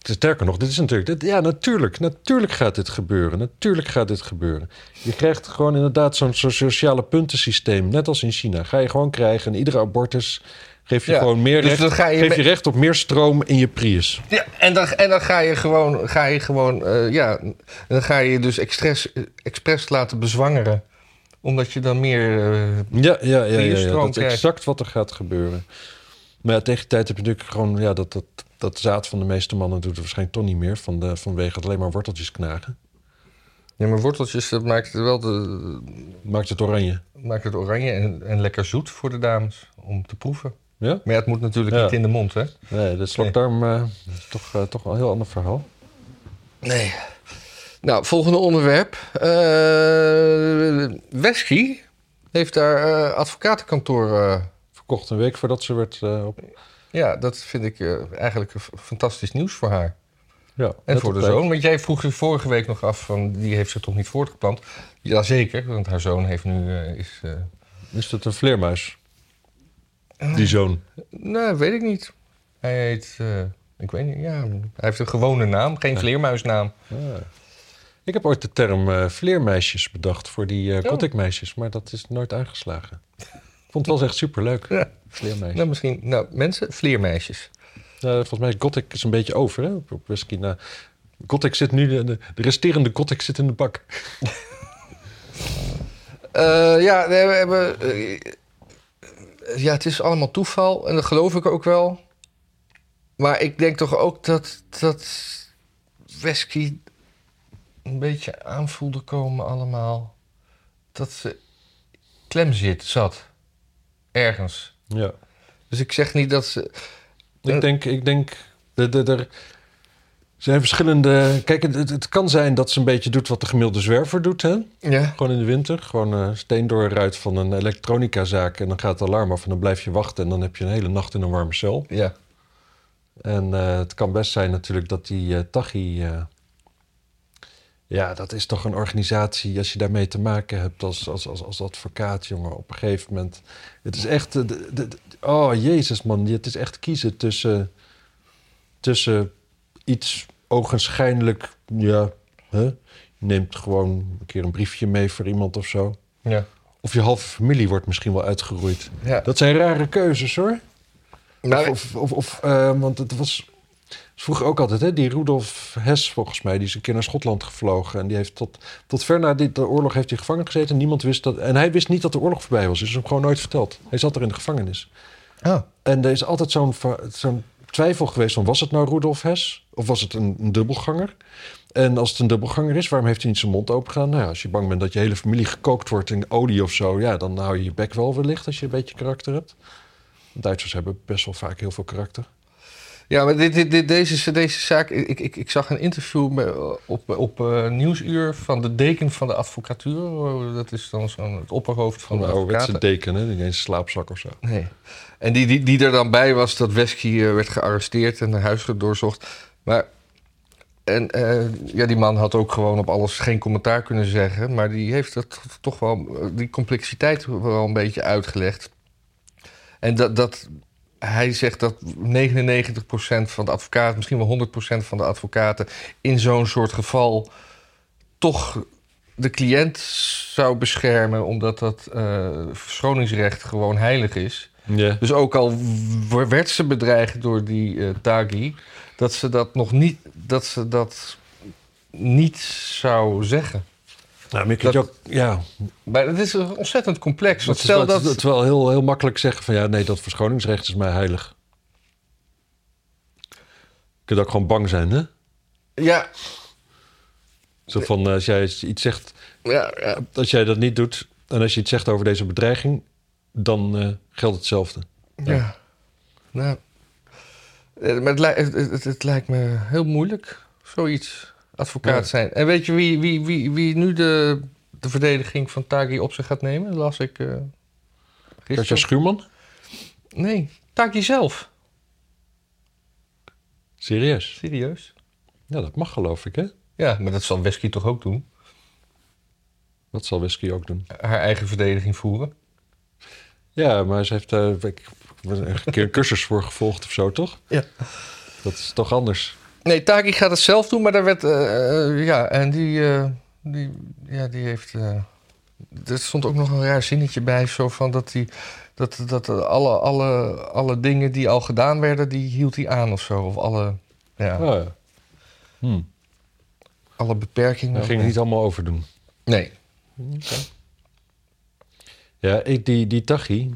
[SPEAKER 2] Sterker nog, dit is natuurlijk. Dit, ja, natuurlijk. Natuurlijk gaat dit gebeuren. Natuurlijk gaat dit gebeuren. Je krijgt gewoon inderdaad zo'n soort sociale puntensysteem. Net als in China. Ga je gewoon krijgen. En iedere abortus geeft je
[SPEAKER 1] Ja,
[SPEAKER 2] gewoon meer
[SPEAKER 1] dus
[SPEAKER 2] recht.
[SPEAKER 1] dat ga je
[SPEAKER 2] geef
[SPEAKER 1] met-
[SPEAKER 2] je recht op meer stroom in je Prius.
[SPEAKER 1] Ja, en dan, en dan ga je gewoon, ga je gewoon eh, ja, dan ga je dus expres, expres laten bezwangeren. Omdat je dan meer... eh,
[SPEAKER 2] Ja, ja, ja, ja, ja.
[SPEAKER 1] Priusstroom
[SPEAKER 2] dat is
[SPEAKER 1] krijgt.
[SPEAKER 2] exact wat er gaat gebeuren. Maar ja, tegen die tijd heb je natuurlijk gewoon... Ja, dat, dat, dat zaad van de meeste mannen doet het waarschijnlijk toch niet meer... Van de, vanwege het alleen maar worteltjes knagen.
[SPEAKER 1] ja, maar worteltjes, dat maakt het wel de,
[SPEAKER 2] Maakt het oranje.
[SPEAKER 1] maakt het oranje en, en lekker zoet voor de dames. Om te proeven.
[SPEAKER 2] Ja?
[SPEAKER 1] Maar ja, het moet natuurlijk
[SPEAKER 2] Ja.
[SPEAKER 1] niet in de mond, hè?
[SPEAKER 2] Nee, de slokdarm... eh, toch, eh, toch wel een heel ander verhaal.
[SPEAKER 1] Nee. Nou, volgende onderwerp. Eh Wesky heeft daar eh, advocatenkantoor. eh.
[SPEAKER 2] Verkocht een week voordat ze werd... eh, op,
[SPEAKER 1] ja, dat vind ik eh, eigenlijk een f- fantastisch nieuws voor haar.
[SPEAKER 2] ja,
[SPEAKER 1] En
[SPEAKER 2] net
[SPEAKER 1] voor
[SPEAKER 2] op
[SPEAKER 1] de
[SPEAKER 2] tijd.
[SPEAKER 1] zoon. Want jij vroeg je vorige week nog af van die heeft zich toch niet voortgeplant. Jazeker, want haar zoon heeft nu. eh, is, eh,
[SPEAKER 2] Is dat een vleermuis?
[SPEAKER 1] Ah.
[SPEAKER 2] Die zoon.
[SPEAKER 1] nou, weet ik niet. Hij heet. eh, ik weet niet. Ja, hij heeft een gewone naam, geen vleermuisnaam.
[SPEAKER 2] Ah. Ik heb ooit de term eh, vleermeisjes bedacht voor die eh
[SPEAKER 1] Oh.
[SPEAKER 2] Gothic-meisjes, maar dat is nooit aangeslagen. Ik vond het wel echt superleuk.
[SPEAKER 1] Ja.
[SPEAKER 2] Vleermeisjes.
[SPEAKER 1] Nou, misschien. Nou, mensen, vleermeisjes.
[SPEAKER 2] Nou, volgens mij is Gothic is een beetje over, hè? Op, op whisky na. Gothic zit nu, de, de resterende Gothic zit in de bak.
[SPEAKER 1] Eh, ja, nee, we hebben. eh, ja, het is allemaal toeval en dat geloof ik ook wel. Maar ik denk toch ook dat. dat Wesky een beetje aanvoelde komen, allemaal. Dat ze klem zit, zat. Ergens.
[SPEAKER 2] Ja.
[SPEAKER 1] Dus ik zeg niet dat ze.
[SPEAKER 2] Ik denk, ik denk, de- de- er zijn verschillende... Kijk, het- het, het kan zijn dat ze een beetje doet wat de gemiddelde zwerver doet, hè?
[SPEAKER 1] Ja.
[SPEAKER 2] Gewoon in de winter. Gewoon eh steen door een ruit van een elektronicazaak en dan gaat het alarm af en dan blijf je wachten en dan heb je een hele nacht in een warme cel.
[SPEAKER 1] Ja.
[SPEAKER 2] En eh, het kan best zijn natuurlijk dat die eh Taghi... eh, ja, dat is toch een organisatie, als je daarmee te maken hebt als, als, als, als advocaat, jongen. Op een gegeven moment... Het is echt... eh, de- de- de- oh, jezus man. Het is echt kiezen tussen, tussen iets ogenschijnlijk... Ja, hè? je neemt gewoon een keer een briefje mee voor iemand of zo.
[SPEAKER 1] Ja.
[SPEAKER 2] Of je halve familie wordt misschien wel uitgeroeid.
[SPEAKER 1] ja.
[SPEAKER 2] Dat zijn rare keuzes, hoor.
[SPEAKER 1] Nou,
[SPEAKER 2] Of, of, of eh, want het was vroeger ook altijd, hè, die Rudolf Hess volgens mij, die is een keer naar Schotland gevlogen. En die heeft tot, tot ver na dit, de oorlog heeft hij gevangen gezeten. Niemand wist dat, en hij wist niet dat de oorlog voorbij was. Dus is hem gewoon nooit verteld. Hij zat er in de gevangenis.
[SPEAKER 1] ah,
[SPEAKER 2] En er is altijd zo'n va- zo'n twijfel geweest van, was het nou Rudolf Hess? Of was het een, een dubbelganger? En als het een dubbelganger is, waarom heeft hij niet zijn mond open gedaan? Nou ja, als je bang bent dat je hele familie gekookt wordt in olie of zo... ja, dan hou je je bek wel wellicht als je een beetje karakter hebt. Duitsers hebben best wel vaak heel veel karakter.
[SPEAKER 1] Ja, maar dit, dit, dit- deze, deze zaak. Ik, ik, ik zag een interview me- op, op eh, Nieuwsuur van de deken van de advocatuur. Oh, Dat is dan zo'n, het opperhoofd van
[SPEAKER 2] Van
[SPEAKER 1] de
[SPEAKER 2] een ouderwetse
[SPEAKER 1] advocaten.
[SPEAKER 2] deken, hè? Niet eens een slaapzak of zo.
[SPEAKER 1] Nee. En die, die, die er dan bij was dat Wesky eh, werd gearresteerd en naar huis doorzocht. Maar. En eh, ja, die man had ook gewoon op alles geen commentaar kunnen zeggen. Maar die heeft dat toch wel, eh, die complexiteit wel een beetje uitgelegd. En dat, dat hij zegt dat 99% van de advocaten, misschien wel 100% van de advocaten, in zo'n soort geval toch de cliënt zou beschermen, omdat dat eh, verschoningsrecht gewoon heilig is.
[SPEAKER 2] Ja.
[SPEAKER 1] Dus ook al w- werd ze bedreigd door die eh, Taghi, dat ze dat nog niet, dat ze dat niet zou zeggen.
[SPEAKER 2] Nou, maar je kunt
[SPEAKER 1] Dat-
[SPEAKER 2] ook, ja,
[SPEAKER 1] Maar het is ontzettend complex.
[SPEAKER 2] dat
[SPEAKER 1] Want
[SPEAKER 2] is wel,
[SPEAKER 1] stel
[SPEAKER 2] dat...
[SPEAKER 1] dat,
[SPEAKER 2] Het is wel heel, heel makkelijk zeggen van ja, nee, dat verschoningsrecht is mij heilig. Je kunt ook gewoon bang zijn, hè?
[SPEAKER 1] ja,
[SPEAKER 2] Zo van eh, als jij iets zegt,
[SPEAKER 1] ja, ja,
[SPEAKER 2] als jij dat niet doet en als je iets zegt over deze bedreiging, dan eh, geldt hetzelfde.
[SPEAKER 1] Ja. Nou. Eh, Maar het, lij- het, het, het lijkt me heel moeilijk, zoiets, advocaat
[SPEAKER 2] Ja.
[SPEAKER 1] zijn. En weet je wie, wie, wie, wie nu de, de verdediging van Taghi op zich gaat nemen? Dat las ik eh
[SPEAKER 2] Katja
[SPEAKER 1] gisteren.
[SPEAKER 2] Schuurman?
[SPEAKER 1] Nee, Taghi zelf.
[SPEAKER 2] Serieus?
[SPEAKER 1] Serieus?
[SPEAKER 2] Ja, dat mag geloof ik, hè?
[SPEAKER 1] Ja, maar dat zal Wesky toch ook doen?
[SPEAKER 2] Dat zal whisky ook doen.
[SPEAKER 1] haar eigen verdediging voeren.
[SPEAKER 2] Ja, maar ze heeft eh, ik, een keer een cursus voor gevolgd of zo, toch?
[SPEAKER 1] Ja.
[SPEAKER 2] Dat is toch anders.
[SPEAKER 1] Nee, Taki gaat het zelf doen, maar daar werd. eh, eh, ja, en die, eh, die. Ja, die heeft. eh, er stond ook nog een raar zinnetje bij, zo van dat die. Dat, dat alle, alle, alle dingen die al gedaan werden, die hield hij aan of zo. Of alle, ja,
[SPEAKER 2] Oh, ja. Hm.
[SPEAKER 1] alle beperkingen.
[SPEAKER 2] Daar ging het niet allemaal over doen.
[SPEAKER 1] Nee.
[SPEAKER 2] Ja, ik, die, die Tachi,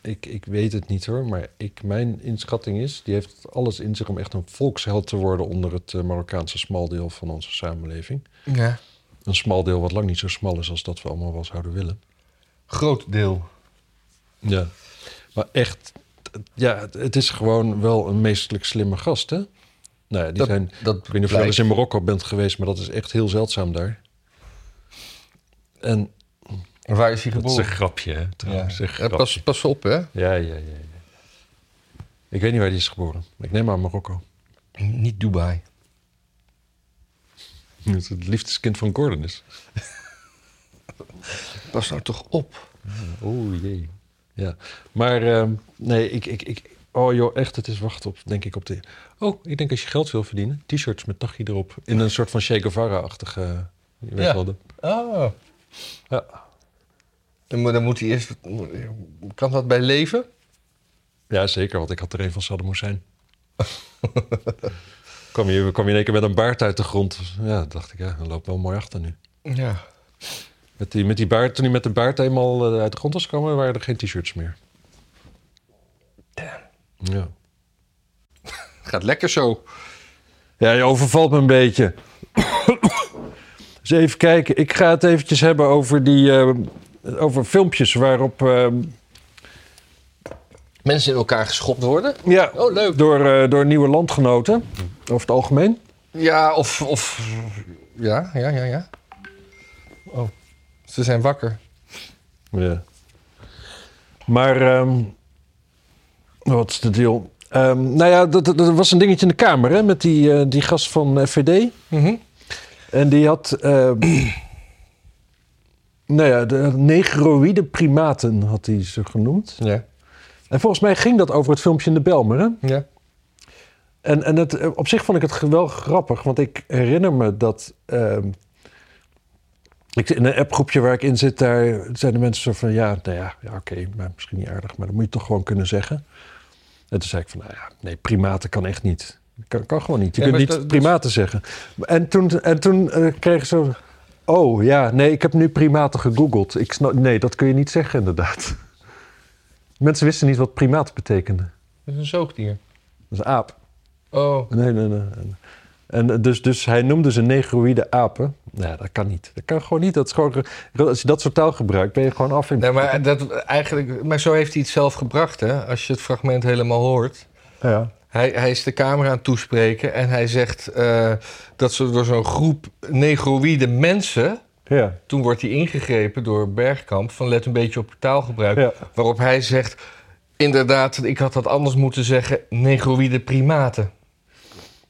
[SPEAKER 2] ik, ik weet het niet hoor, maar ik, mijn inschatting is, die heeft alles in zich om echt een volksheld te worden onder het eh, Marokkaanse smaldeel van onze samenleving.
[SPEAKER 1] Ja.
[SPEAKER 2] Een smal deel wat lang niet zo smal is als dat we allemaal wel zouden willen.
[SPEAKER 1] Groot deel.
[SPEAKER 2] Ja. Maar echt, t- ja, het- het is gewoon wel een meestelijk slimme gast, hè? Nou ja, die
[SPEAKER 1] dat,
[SPEAKER 2] zijn,
[SPEAKER 1] dat
[SPEAKER 2] ik weet niet of je wel eens
[SPEAKER 1] blijkt.
[SPEAKER 2] in Marokko bent geweest, maar dat is echt heel zeldzaam daar. En
[SPEAKER 1] Waar is hij
[SPEAKER 2] dat is
[SPEAKER 1] geboren?
[SPEAKER 2] een grapje, hè,
[SPEAKER 1] Ja.
[SPEAKER 2] trouwens. Een
[SPEAKER 1] Ja,
[SPEAKER 2] grapje.
[SPEAKER 1] pas, pas op, hè?
[SPEAKER 2] Ja, ja, ja, ja. Ik weet niet waar die is geboren. Ik neem aan Marokko.
[SPEAKER 1] Niet Dubai.
[SPEAKER 2] Dat is het liefdeskind van Gordon is.
[SPEAKER 1] Pas nou toch op.
[SPEAKER 2] Oh jee. Ja, maar ehm, nee, ik, ik, ik... Oh joh, echt, het is wachten op, denk ik, op de... Oh, ik denk als je geld wil verdienen, t-shirts met Tachi erop. In een soort van Che Guevara-achtige... Je weet
[SPEAKER 1] Ja.
[SPEAKER 2] wel de-
[SPEAKER 1] Ah.
[SPEAKER 2] Ja.
[SPEAKER 1] Dan, moet- dan moet hij eerst. Kan dat bij leven?
[SPEAKER 2] ja, zeker, want ik had er een van Saddam Hussein. kwam, je, kwam je in één keer met een baard uit de grond. Ja, dacht ik, ja, dat loopt wel mooi achter nu.
[SPEAKER 1] Ja.
[SPEAKER 2] Met die, met die baard, toen hij met de baard eenmaal eh, uit de grond was gekomen, waren er geen t-shirts meer. Ja.
[SPEAKER 1] Gaat lekker zo.
[SPEAKER 2] ja, je overvalt me een beetje. dus even kijken. Ik ga het eventjes hebben over, die, eh, over filmpjes waarop... eh,
[SPEAKER 1] Mensen in elkaar geschopt worden.
[SPEAKER 2] ja,
[SPEAKER 1] Oh, leuk.
[SPEAKER 2] Door, eh, door nieuwe landgenoten, over het algemeen.
[SPEAKER 1] Ja, of. of ja, ja, ja, ja. Oh, ze zijn wakker.
[SPEAKER 2] Ja. Maar, ehm, wat is de deal? Ehm, nou ja, dat, dat, dat was een dingetje in de kamer, hè, met die, eh, die gast van FVD.
[SPEAKER 1] Mhm.
[SPEAKER 2] En die had. eh, nou ja, de negroïde primaten had hij ze genoemd.
[SPEAKER 1] Ja.
[SPEAKER 2] En volgens mij ging dat over het filmpje in de Belmer. Hè?
[SPEAKER 1] ja.
[SPEAKER 2] En, en het, eh, op zich vond ik het ge- wel grappig, want ik herinner me dat. ehm, ik, in een appgroepje waar ik in zit, daar zijn de mensen zo van: ja, nou ja, ja oké, maar misschien niet aardig, maar dat moet je toch gewoon kunnen zeggen. En toen zei ik van: nou ja, nee, primaten kan echt niet. Kan, kan gewoon niet. Je
[SPEAKER 1] Ja,
[SPEAKER 2] kunt
[SPEAKER 1] maar
[SPEAKER 2] niet
[SPEAKER 1] dat- dat is-
[SPEAKER 2] primaten zeggen. En toen, en toen eh, kregen ze: oh ja, nee, ik heb nu primaten gegoogeld. Ik snap, nee, dat kun je niet zeggen, inderdaad. Mensen wisten niet wat primaat betekende.
[SPEAKER 1] Dat is een zoogdier.
[SPEAKER 2] Dat is een aap.
[SPEAKER 1] Oh.
[SPEAKER 2] Nee, nee, nee. En dus, dus hij noemde ze negroïde apen. Nou, dat kan niet. Dat kan gewoon niet. Dat is gewoon, als je dat soort taal gebruikt, ben je gewoon af in...
[SPEAKER 1] Nee, maar, dat, eigenlijk, maar zo heeft hij het zelf gebracht, hè? Als je het fragment helemaal hoort.
[SPEAKER 2] Ja.
[SPEAKER 1] Hij, hij is de camera aan het toespreken en hij zegt eh, dat ze door zo'n groep negroïde mensen.
[SPEAKER 2] Ja.
[SPEAKER 1] Toen wordt hij ingegrepen door Bergkamp van let een beetje op je taalgebruik.
[SPEAKER 2] Ja.
[SPEAKER 1] Waarop hij zegt, inderdaad, ik had dat anders moeten zeggen, negroïde primaten.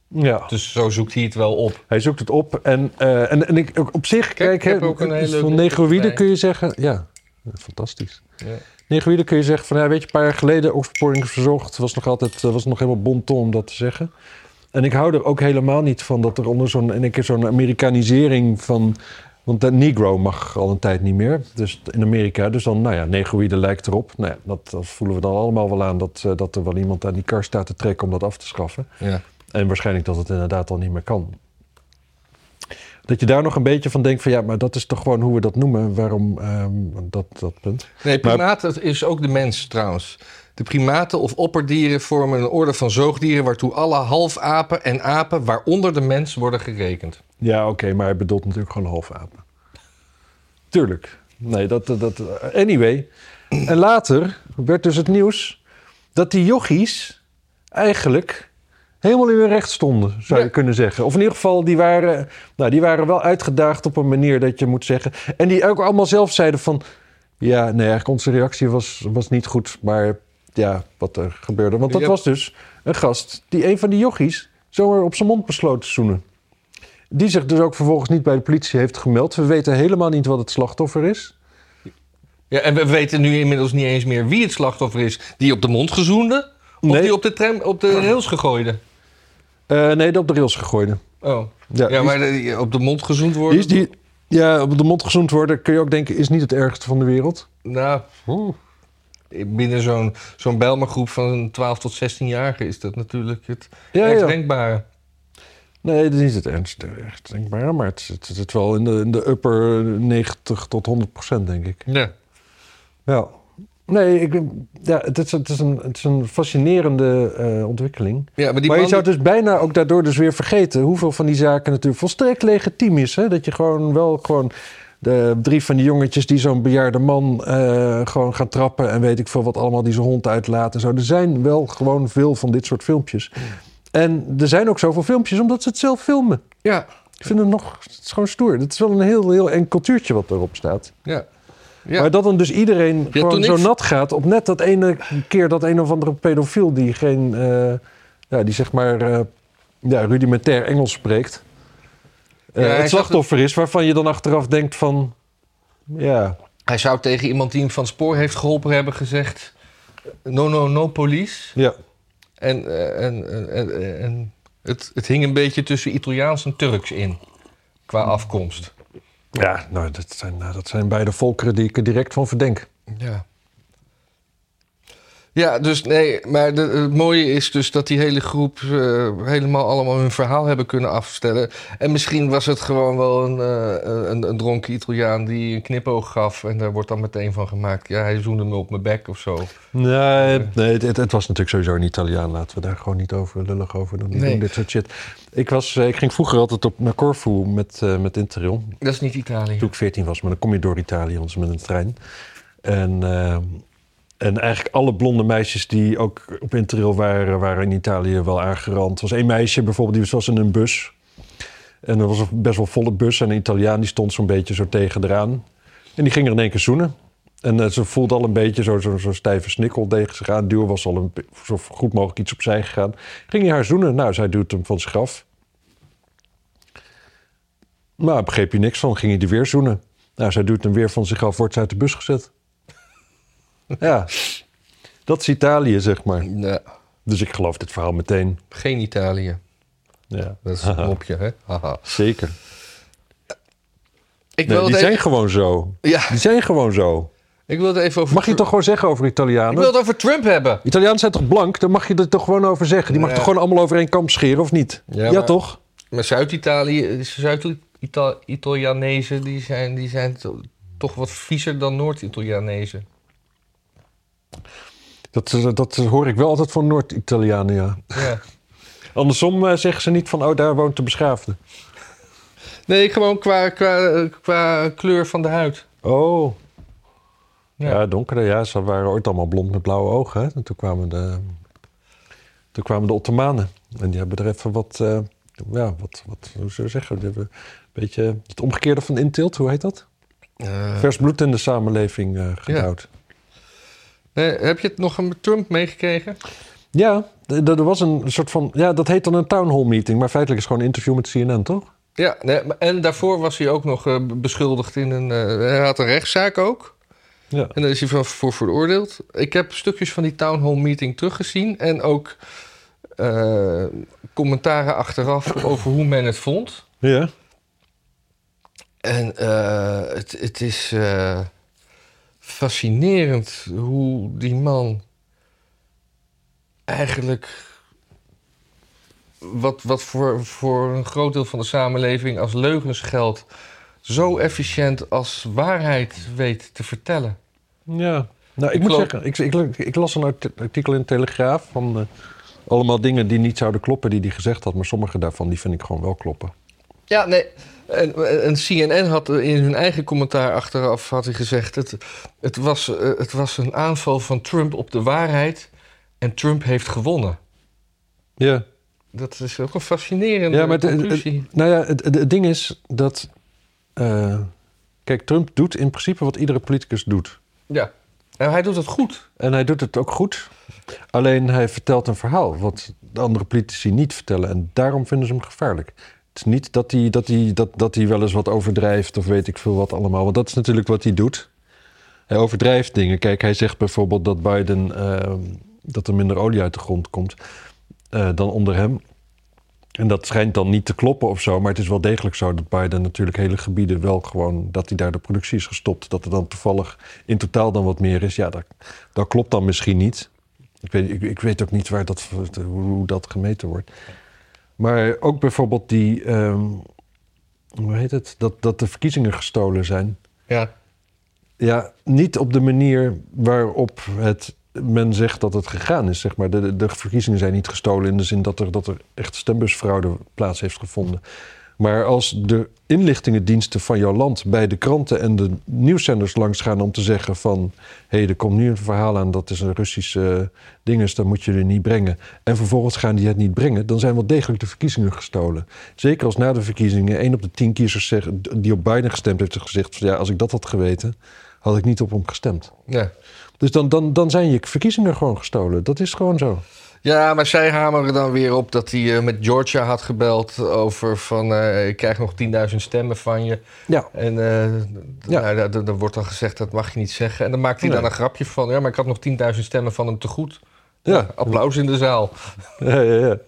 [SPEAKER 2] ja.
[SPEAKER 1] Dus zo zoekt hij het wel op.
[SPEAKER 2] Hij zoekt het op. En, eh, en, en ik, ook op zich, kijk,
[SPEAKER 1] ik heb
[SPEAKER 2] hè,
[SPEAKER 1] ook een hele
[SPEAKER 2] van
[SPEAKER 1] leuke
[SPEAKER 2] negroïde
[SPEAKER 1] partij.
[SPEAKER 2] kun je zeggen... Ja, fantastisch.
[SPEAKER 1] Ja.
[SPEAKER 2] Negroïde kun je zeggen van, ja, weet je, een paar jaar geleden opsporing verzocht. Was nog altijd, eh, was nog helemaal bon ton om dat te zeggen. En ik hou er ook helemaal niet van dat er onder zo'n, in één keer zo'n Amerikanisering van, want de negro mag al een tijd niet meer. Dus in Amerika, dus dan, nou ja, negroïde lijkt erop. Nou ja, dat, dat voelen we dan allemaal wel aan dat, eh, dat er wel iemand aan die kar staat te trekken om dat af te schaffen.
[SPEAKER 1] Ja.
[SPEAKER 2] En waarschijnlijk dat het inderdaad al niet meer kan. Dat je daar nog een beetje van denkt van ja, maar dat is toch gewoon hoe we dat noemen. Waarom ehm, dat, dat punt?
[SPEAKER 1] Nee, primaten is ook de mens trouwens. De primaten of opperdieren vormen een orde van zoogdieren... waartoe alle halfapen en apen, waaronder de mens, worden gerekend.
[SPEAKER 2] Ja, oké, maar hij bedoelt natuurlijk gewoon half apen. Tuurlijk. Nee, dat, dat, dat... Anyway. En later werd dus het nieuws dat die jochies eigenlijk helemaal in hun recht stonden, zou je
[SPEAKER 1] Ja.
[SPEAKER 2] kunnen zeggen. Of in ieder geval, die waren, nou, die waren wel uitgedaagd op een manier dat je moet zeggen. En die ook allemaal zelf zeiden van... Ja, nee, eigenlijk onze reactie was, was niet goed, maar ja, wat er gebeurde. Want dat
[SPEAKER 1] Ja.
[SPEAKER 2] was dus een gast die een van die jochies zomaar op zijn mond besloot te zoenen. Die zich dus ook vervolgens niet bij de politie heeft gemeld. We weten helemaal niet wat het slachtoffer is.
[SPEAKER 1] Ja, en we weten nu inmiddels niet eens meer wie het slachtoffer is. Die op de mond gezoende? Of
[SPEAKER 2] Nee.
[SPEAKER 1] die op de, tram, op de rails gegooide?
[SPEAKER 2] Eh, nee, de op de rails gegooid.
[SPEAKER 1] Oh. Ja,
[SPEAKER 2] Ja, die
[SPEAKER 1] maar de- op de mond gezoend
[SPEAKER 2] is, die
[SPEAKER 1] worden?
[SPEAKER 2] is die, ja, op de mond gezoend worden, kun je ook denken, is niet het ergste van de wereld.
[SPEAKER 1] Nou, binnen zo'n zo'n Bijlmergroep van 12 tot 16-jarigen is dat natuurlijk het
[SPEAKER 2] Ja,
[SPEAKER 1] ergst
[SPEAKER 2] ja.
[SPEAKER 1] denkbare.
[SPEAKER 2] Nee, dat is niet het ernstige, echt denkbaar. Maar het zit, het zit wel in de, in de upper 90 tot 100 procent, denk ik.
[SPEAKER 1] Ja.
[SPEAKER 2] Ja. Nee, ik, ja, het, is, het, is een, het is een fascinerende eh, ontwikkeling.
[SPEAKER 1] ja, maar die
[SPEAKER 2] maar je
[SPEAKER 1] man
[SPEAKER 2] zou dus bijna ook daardoor dus weer vergeten... hoeveel van die zaken natuurlijk volstrekt legitiem is. Hè? Dat je gewoon wel gewoon... De drie van die jongetjes die zo'n bejaarde man eh, gewoon gaan trappen... en weet ik veel wat allemaal, die zijn hond uitlaat en zo. Er zijn wel gewoon veel van dit soort filmpjes. En er zijn ook zoveel filmpjes omdat ze het zelf filmen.
[SPEAKER 1] Ja,
[SPEAKER 2] Ik vind het nog het is gewoon stoer. Het is wel een heel, heel eng cultuurtje wat erop staat.
[SPEAKER 1] ja. Ja.
[SPEAKER 2] Maar dat dan dus iedereen
[SPEAKER 1] toen
[SPEAKER 2] gewoon zo
[SPEAKER 1] ik-
[SPEAKER 2] nat gaat op net dat ene keer dat een of andere pedofiel die geen, eh, ja, die zeg maar eh, ja, rudimentair Engels spreekt, eh,
[SPEAKER 1] Ja, ik zag
[SPEAKER 2] het slachtoffer is waarvan je dan achteraf denkt van, ja,
[SPEAKER 1] Hij zou tegen iemand die hem van het spoor heeft geholpen hebben gezegd... No, no, no police.
[SPEAKER 2] ja,
[SPEAKER 1] En, eh, en, en, en, en het, het hing een beetje tussen Italiaans en Turks in. Qua afkomst.
[SPEAKER 2] ja, nou dat zijn, nou, dat zijn beide volkeren die ik er direct van verdenk.
[SPEAKER 1] Ja. Ja, dus nee, maar de- het mooie is dus dat die hele groep eh, helemaal allemaal hun verhaal hebben kunnen afstellen. En misschien was het gewoon wel een, eh, een, een dronken Italiaan die een knipoog gaf en daar wordt dan meteen van gemaakt. Ja, hij zoende me op mijn bek of zo.
[SPEAKER 2] Nee, nee het, het- het was natuurlijk sowieso een Italiaan. Laten we daar gewoon niet over lullig over doen. Die
[SPEAKER 1] Nee.
[SPEAKER 2] doen dit soort shit. Ik, was, eh, ik ging vroeger altijd op, naar Corfu met, eh, met Interrail.
[SPEAKER 1] Dat is niet Italië.
[SPEAKER 2] Toen ik 14 was, maar dan kom je door Italië anders met een trein. En, eh, en eigenlijk alle blonde meisjes die ook op Interrail waren, waren in Italië wel aangerand. Er was één meisje bijvoorbeeld, die was in een bus. En er was een best wel volle bus. En een Italiaan die stond zo'n beetje zo tegen eraan. En die ging er in één keer zoenen. En eh, ze voelde al een beetje zo'n zo, zo stijve snikkel tegen zich aan. Duw was al een, be- zo goed mogelijk iets opzij gegaan. Ging hij haar zoenen? Nou, zij duwt hem van zich af. Maar begreep je niks van, ging hij er weer zoenen. Nou, zij duwt hem weer van zich af, wordt ze uit de bus gezet. ja, dat is Italië, zeg maar.
[SPEAKER 1] Ja,
[SPEAKER 2] Dus ik geloof dit verhaal meteen.
[SPEAKER 1] geen Italië.
[SPEAKER 2] Ja,
[SPEAKER 1] Dat is een mopje, hè? Haha.
[SPEAKER 2] zeker.
[SPEAKER 1] Ik
[SPEAKER 2] Nee,
[SPEAKER 1] wil
[SPEAKER 2] die
[SPEAKER 1] het
[SPEAKER 2] zijn
[SPEAKER 1] even...
[SPEAKER 2] gewoon zo.
[SPEAKER 1] Ja,
[SPEAKER 2] Die zijn gewoon zo.
[SPEAKER 1] ik wil het even over...
[SPEAKER 2] Mag je het toch gewoon zeggen over
[SPEAKER 1] Ik wil
[SPEAKER 2] Italianen?
[SPEAKER 1] het over Trump hebben.
[SPEAKER 2] Italianen zijn toch blank? Dan mag je er toch gewoon over zeggen. Die mag
[SPEAKER 1] Ja.
[SPEAKER 2] toch gewoon allemaal over één kam scheren, of niet?
[SPEAKER 1] Ja,
[SPEAKER 2] Ja,
[SPEAKER 1] maar-
[SPEAKER 2] toch?
[SPEAKER 1] Maar Zuid-Italië, Zuid-Italianezen, die zijn, die zijn to- toch wat viezer dan Noord-Italianezen.
[SPEAKER 2] Dat, eh, dat hoor ik wel altijd van Noord-Italianen, ja.
[SPEAKER 1] Ja.
[SPEAKER 2] Andersom eh, zeggen ze niet van, oh, daar woont de beschaafde.
[SPEAKER 1] Nee, gewoon qua, qua, eh, qua kleur van de huid.
[SPEAKER 2] Oh,
[SPEAKER 1] Ja.
[SPEAKER 2] Ja, donkere, ja. Ze waren ooit allemaal blond met blauwe ogen. Hè? En toen kwamen, de, toen kwamen de Ottomanen. En die hebben er even wat, eh, ja, wat, wat hoe zou je zeggen? Die hebben een beetje het omgekeerde van intilt, hoe heet dat?
[SPEAKER 1] Eh,
[SPEAKER 2] Vers bloed in de samenleving eh geduwd.
[SPEAKER 1] nee, heb je het nog aan Trump meegekregen?
[SPEAKER 2] Ja, d- d- er was een soort van, ja, dat heet dan een town hall meeting. Maar feitelijk is het gewoon een interview met CNN, toch?
[SPEAKER 1] Ja, nee, maar- en daarvoor was hij ook nog eh, beschuldigd in een... eh, hij had een rechtszaak ook.
[SPEAKER 2] Ja.
[SPEAKER 1] En daar is hij van voor veroordeeld. Ik heb stukjes van die town hall meeting teruggezien. En ook eh, commentaren achteraf over hoe men het vond.
[SPEAKER 2] Ja.
[SPEAKER 1] En eh, het, het is eh, fascinerend hoe die man eigenlijk wat, wat voor, voor een groot deel van de samenleving als leugens geldt, zo efficiënt als waarheid weet te vertellen.
[SPEAKER 2] Ja. Nou, ik,
[SPEAKER 1] Ik
[SPEAKER 2] moet
[SPEAKER 1] geloof-
[SPEAKER 2] zeggen, ik, ik, ik las een art- artikel in de Telegraaf van eh, allemaal dingen die niet zouden kloppen die hij gezegd had. Maar sommige daarvan, die vind ik gewoon wel kloppen.
[SPEAKER 1] Ja, nee. En, en CNN had in hun eigen commentaar achteraf had hij gezegd: het, het, was, eh, het was een aanval van Trump op de waarheid en Trump heeft gewonnen.
[SPEAKER 2] Ja.
[SPEAKER 1] Dat is ook een fascinerende
[SPEAKER 2] Ja, maar het-
[SPEAKER 1] conclusie.
[SPEAKER 2] Nou ja, het, het- het ding is dat. eh, kijk, Trump doet in principe wat iedere politicus doet.
[SPEAKER 1] ja. Nou, hij doet het goed.
[SPEAKER 2] En hij doet het ook goed. Alleen hij vertelt een verhaal wat de andere politici niet vertellen. En daarom vinden ze hem gevaarlijk. Het is niet dat hij, dat, hij, dat, dat hij wel eens wat overdrijft of weet ik veel wat allemaal. Want dat is natuurlijk wat hij doet. Hij overdrijft dingen. Kijk, hij zegt bijvoorbeeld dat Biden eh, dat er minder olie uit de grond komt eh, dan onder hem. En dat schijnt dan niet te kloppen of zo, maar het is wel degelijk zo dat Biden natuurlijk hele gebieden wel gewoon dat hij daar de productie is gestopt. Dat er dan toevallig in totaal dan wat meer is. Ja, dat, dat klopt dan misschien niet. Ik weet, ik, ik weet ook niet waar dat, hoe, hoe dat gemeten wordt. Maar ook bijvoorbeeld die, ehm, hoe heet het, dat, dat de verkiezingen gestolen zijn.
[SPEAKER 1] Ja.
[SPEAKER 2] Ja, niet op de manier waarop het, men zegt dat het gegaan is. Zeg maar. de, de verkiezingen zijn niet gestolen in de zin dat er, dat er echt stembusfraude plaats heeft gevonden. Maar als de inlichtingendiensten van jouw land bij de kranten en de nieuwszenders langs gaan om te zeggen van... hé, hey, er komt nu een verhaal aan dat is een Russische ding is, dat moet je er niet brengen. En vervolgens gaan die het niet brengen, dan zijn wel degelijk de verkiezingen gestolen. Zeker als na de verkiezingen één op de tien kiezers zeggen- die op Biden gestemd heeft gezegd... Van, ja, als ik dat had geweten, had ik niet op hem gestemd.
[SPEAKER 1] ja.
[SPEAKER 2] Dus dan, dan, dan zijn je verkiezingen gewoon gestolen. Dat is gewoon zo.
[SPEAKER 1] Ja, maar zij hameren dan weer op dat hij eh, met Georgia had gebeld over van eh, ik krijg nog 10.000 stemmen van je.
[SPEAKER 2] Ja.
[SPEAKER 1] En eh
[SPEAKER 2] Ja.
[SPEAKER 1] nou, daar- daar- daar wordt dan gezegd dat mag je niet zeggen. En dan maakt hij
[SPEAKER 2] Nee.
[SPEAKER 1] dan een grapje van ja, maar ik had nog 10.000 stemmen van hem te goed.
[SPEAKER 2] Ja.
[SPEAKER 1] Applaus in de zaal.
[SPEAKER 2] Ja, ja, ja.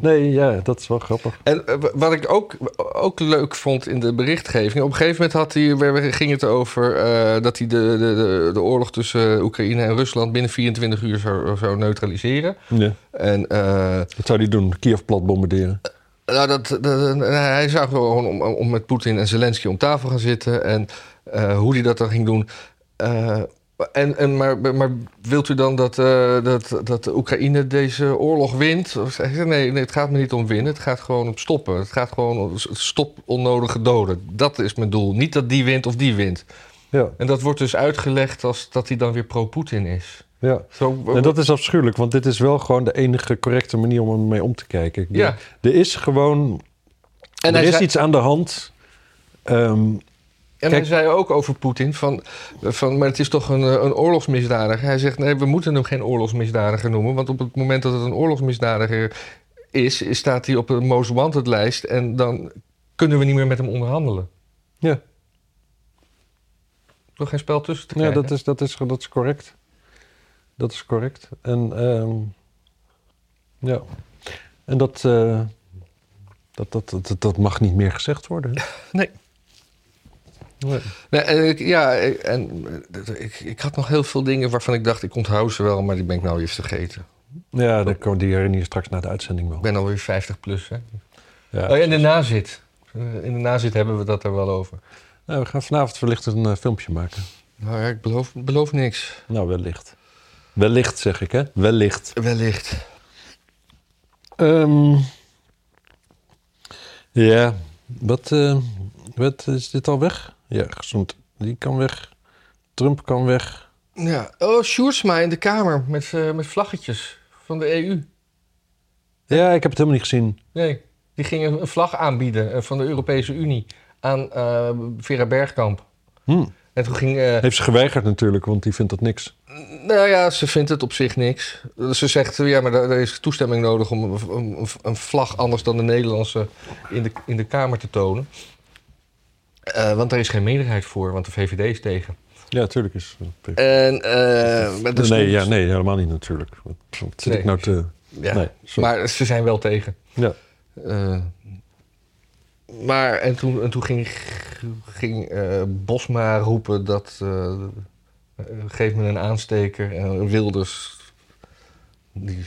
[SPEAKER 2] Nee, ja, dat is wel grappig.
[SPEAKER 1] En eh, wa- wat ik ook, ook leuk vond in de berichtgeving. Op een gegeven moment had hij, we- we- ging het over eh, dat hij de, de, de, de oorlog tussen Oekraïne en Rusland binnen 24 uur zou, zou neutraliseren.
[SPEAKER 2] Ja.
[SPEAKER 1] En eh,
[SPEAKER 2] Wat zou die doen? Kiev plat bombarderen.
[SPEAKER 1] Nou, dat, dat- dat- hij zou gewoon om, om met Poetin en Zelensky om tafel gaan zitten. En eh, hoe hij dat dan ging doen. Eh, en, en, maar, maar wilt u dan dat, eh, dat, dat de Oekraïne deze oorlog wint? Of Hij zei, nee, nee, het gaat me niet om winnen. Het gaat gewoon om stoppen. Het gaat gewoon om s- stop onnodige doden. Dat is mijn doel. Niet dat die wint of die wint.
[SPEAKER 2] Ja,
[SPEAKER 1] En dat wordt dus uitgelegd als dat hij dan weer pro-Poetin is.
[SPEAKER 2] ja.
[SPEAKER 1] Zo,
[SPEAKER 2] En dat is afschuwelijk, want dit is wel gewoon de enige correcte manier om ermee om te kijken. Ik bedoel,
[SPEAKER 1] Ja.
[SPEAKER 2] Er is gewoon
[SPEAKER 1] en
[SPEAKER 2] er
[SPEAKER 1] hij
[SPEAKER 2] is
[SPEAKER 1] zei-
[SPEAKER 2] iets aan de hand. Ehm,
[SPEAKER 1] En
[SPEAKER 2] Kijk-
[SPEAKER 1] hij zei ook over Poetin van, van, maar het is toch een, eh, een oorlogsmisdadiger. Hij zegt, nee, we moeten hem geen oorlogsmisdadiger noemen. Want op het moment dat het een oorlogsmisdadiger is, is- staat hij op de most wanted lijst. En dan kunnen we niet meer met hem onderhandelen.
[SPEAKER 2] ja,
[SPEAKER 1] Door geen spel tussen te
[SPEAKER 2] ja
[SPEAKER 1] krijgen.
[SPEAKER 2] dat, eh, is, dat, is, dat is correct. Dat is correct. En, ehm, ja. en dat, eh, dat, dat, dat, dat mag niet meer gezegd worden. hè?
[SPEAKER 1] Nee.
[SPEAKER 2] Nee.
[SPEAKER 1] Nee, en ik, ja, ik- en eh, ik, ik had nog heel veel dingen waarvan ik dacht, ik onthoud ze wel, maar die ben ik nou weer vergeten.
[SPEAKER 2] Ja, dat kan- die herinner je straks na de uitzending wel.
[SPEAKER 1] Ik ben alweer 50 plus, hè.
[SPEAKER 2] Ja.
[SPEAKER 1] Oh, ja, in de nazit. Eh, In de nazit hebben we dat er wel over.
[SPEAKER 2] Nou, we gaan vanavond wellicht een eh, filmpje maken.
[SPEAKER 1] Nou ja, ik beloof, beloof niks.
[SPEAKER 2] Nou, wellicht. Wellicht, zeg ik, hè? Wellicht.
[SPEAKER 1] Wellicht.
[SPEAKER 2] Ehm, ja, wat, eh, wat is dit al weg? Ja, gezond. Die kan weg. Trump kan weg.
[SPEAKER 1] Ja, oh, Sjoerdsma in de Kamer met, eh, met vlaggetjes van de E EU.
[SPEAKER 2] Ja, ik heb het helemaal niet gezien.
[SPEAKER 1] Nee, die ging een- een vlag aanbieden eh, van de Europese Unie aan eh, Vera Bergkamp.
[SPEAKER 2] Hm.
[SPEAKER 1] En toen ging... eh,
[SPEAKER 2] Heeft ze geweigerd natuurlijk, want die vindt dat niks.
[SPEAKER 1] nou ja, ze vindt het op zich niks. Ze zegt, eh, ja, maar daar, daar is toestemming nodig om een, een- een vlag anders dan de Nederlandse in de, in de Kamer te tonen. Eh, want daar is geen meerderheid voor, want de VVD is tegen.
[SPEAKER 2] Ja, tuurlijk is.
[SPEAKER 1] En, eh, maar dat is-
[SPEAKER 2] nee, ja, nee, helemaal niet natuurlijk. Wat wat zit ik
[SPEAKER 1] Nee.
[SPEAKER 2] nou te...
[SPEAKER 1] Ja,
[SPEAKER 2] Nee, sorry.
[SPEAKER 1] maar ze zijn wel tegen.
[SPEAKER 2] Ja.
[SPEAKER 1] Eh, maar, en toen, en toen ging, ging eh, Bosma roepen dat. eh, eh, geef me een aansteker. En Wilders. Die,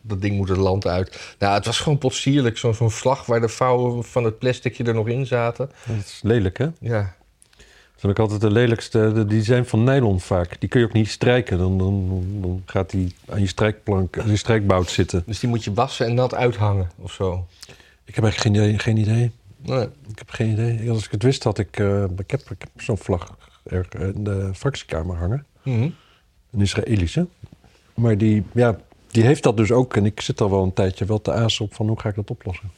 [SPEAKER 1] dat ding moet het land uit. Nou, het was gewoon potsierlijk. Zo- Zo'n vlag waar de vouwen van het plasticje er nog in zaten.
[SPEAKER 2] Dat is lelijk, hè?
[SPEAKER 1] Ja.
[SPEAKER 2] Dat vind ik altijd de lelijkste. de- Die zijn van nylon vaak. Die kun je ook niet strijken. Dan, dan, dan gaat die aan je strijkplank, aan je strijkbout zitten.
[SPEAKER 1] Dus die moet je wassen en nat uithangen of zo.
[SPEAKER 2] Ik heb eigenlijk geen idee. Geen idee.
[SPEAKER 1] Nee.
[SPEAKER 2] Ik heb geen idee. Als ik het wist, had ik... eh, ik heb, ik heb zo'n vlag er in de fractiekamer hangen.
[SPEAKER 1] Mhm.
[SPEAKER 2] Een Israëlische. Maar die, ja, die heeft dat dus ook. En ik zit al wel een tijdje wel te aas op van hoe ga ik dat oplossen.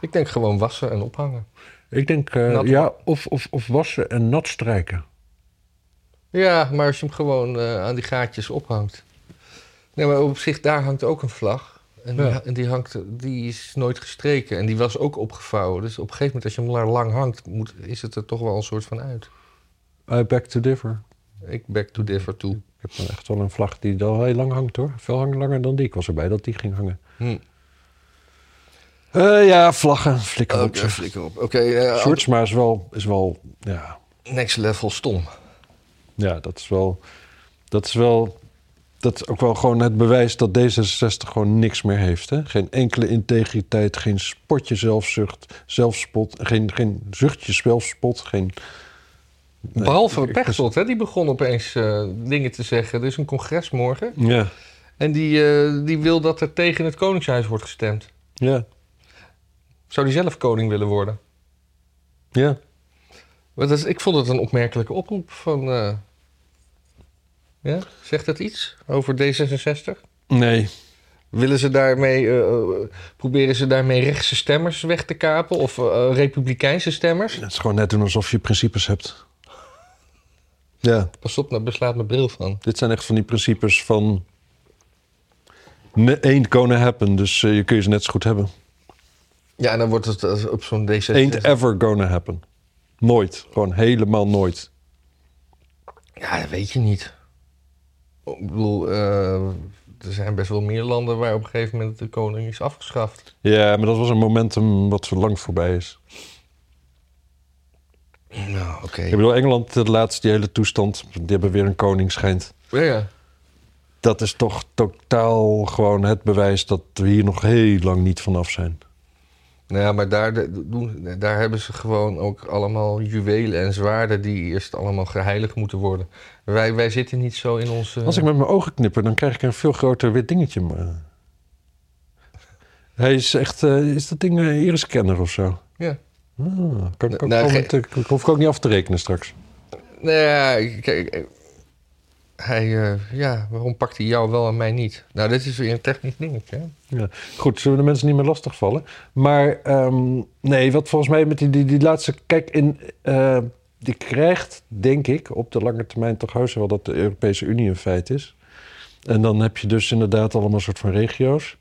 [SPEAKER 1] Ik denk gewoon wassen en ophangen.
[SPEAKER 2] Ik denk, eh,
[SPEAKER 1] Nat-
[SPEAKER 2] ja, of, of, of wassen en nat strijken.
[SPEAKER 1] Ja, maar als je hem gewoon eh, aan die gaatjes ophangt. Nee, maar op zich, daar hangt ook een vlag. En,
[SPEAKER 2] Ja.
[SPEAKER 1] die, en die, hangt, die is nooit gestreken. En die was ook opgevouwen. Dus op een gegeven moment, als je hem la- lang hangt, moet, is het er toch wel een soort van uit.
[SPEAKER 2] I back to differ.
[SPEAKER 1] Ik back to differ toe.
[SPEAKER 2] Ik heb dan echt wel een vlag die al heel lang hangt hoor. Veel hang- langer dan die. Ik was erbij dat die ging hangen.
[SPEAKER 1] Hm.
[SPEAKER 2] Eh, ja, vlaggen, flikkerboxen.
[SPEAKER 1] Oké, flikker op. Oké, eh, oh,
[SPEAKER 2] Shorts, maar is wel, is wel ja,
[SPEAKER 1] next level stom.
[SPEAKER 2] ja, dat is wel, dat is wel, dat is ook wel gewoon het bewijs dat D66 gewoon niks meer heeft. Hè? Geen enkele integriteit, geen spotje zelfzucht, zelfspot, geen, geen zuchtje zelfspot, geen... Nee,
[SPEAKER 1] Behalve
[SPEAKER 2] ik- ik-
[SPEAKER 1] Pechtold, hè, die begon opeens eh, dingen te zeggen. Er is een congres morgen.
[SPEAKER 2] Ja,
[SPEAKER 1] En die, eh, die wil dat er tegen het Koningshuis wordt gestemd.
[SPEAKER 2] ja,
[SPEAKER 1] Zou die zelf koning willen worden?
[SPEAKER 2] ja.
[SPEAKER 1] Want dat is- ik vond het een opmerkelijke oproep van... eh, ja? Zegt dat iets over D66?
[SPEAKER 2] Nee,
[SPEAKER 1] Willen ze daarmee, eh, eh, proberen ze daarmee rechtse stemmers weg te kapen of eh, eh, republikeinse stemmers?
[SPEAKER 2] het is gewoon net doen alsof je principes hebt. Ja,
[SPEAKER 1] Pas op, nou beslaat mijn bril van.
[SPEAKER 2] Dit zijn echt van die principes van... ne- Ain't gonna happen, dus eh, je kun je ze net zo goed hebben.
[SPEAKER 1] Ja, en dan wordt het eh, op zo'n
[SPEAKER 2] Ain't
[SPEAKER 1] D66.
[SPEAKER 2] ever gonna happen. Nooit. Gewoon helemaal nooit.
[SPEAKER 1] Ja, dat weet je niet. Ik bedoel, eh, er zijn best wel meer landen waar op een gegeven moment de koning is afgeschaft.
[SPEAKER 2] Ja, maar dat was een momentum wat zo lang voorbij is.
[SPEAKER 1] Nou, oké.
[SPEAKER 2] Ik bedoel, Engeland, de laatste die hele toestand, die hebben weer een koning schijnt.
[SPEAKER 1] Ja, ja.
[SPEAKER 2] Dat is toch totaal gewoon het bewijs dat we hier nog heel lang niet vanaf zijn.
[SPEAKER 1] Nou ja, maar daar, de- doen, daar hebben ze gewoon ook allemaal juwelen en zwaarden die eerst allemaal geheiligd moeten worden. Wij, wij zitten niet zo in onze...
[SPEAKER 2] Als ik met mijn ogen knipper, dan krijg ik een veel groter wit dingetje. Maar... eh. Hij is echt, eh, is dat ding een iriscanner of zo?
[SPEAKER 1] Ja.
[SPEAKER 2] Ah, kan, ik ook
[SPEAKER 1] Nou,
[SPEAKER 2] wel
[SPEAKER 1] ge-
[SPEAKER 2] met de- hoef ik ook niet af te rekenen straks.
[SPEAKER 1] Nou ja, kijk. eh, Hij, eh, ja, waarom pakt hij jou wel en mij niet? Nou, dit is weer een technisch dingetje. hè?
[SPEAKER 2] Ja. Goed, zullen we de mensen niet meer lastigvallen? Maar ehm, nee, wat volgens mij met die, die, die laatste... Kijk, in, eh, die krijgt, denk ik, op de lange termijn toch heus wel dat de Europese Unie een feit is. En dan heb je dus inderdaad allemaal soort van regio's.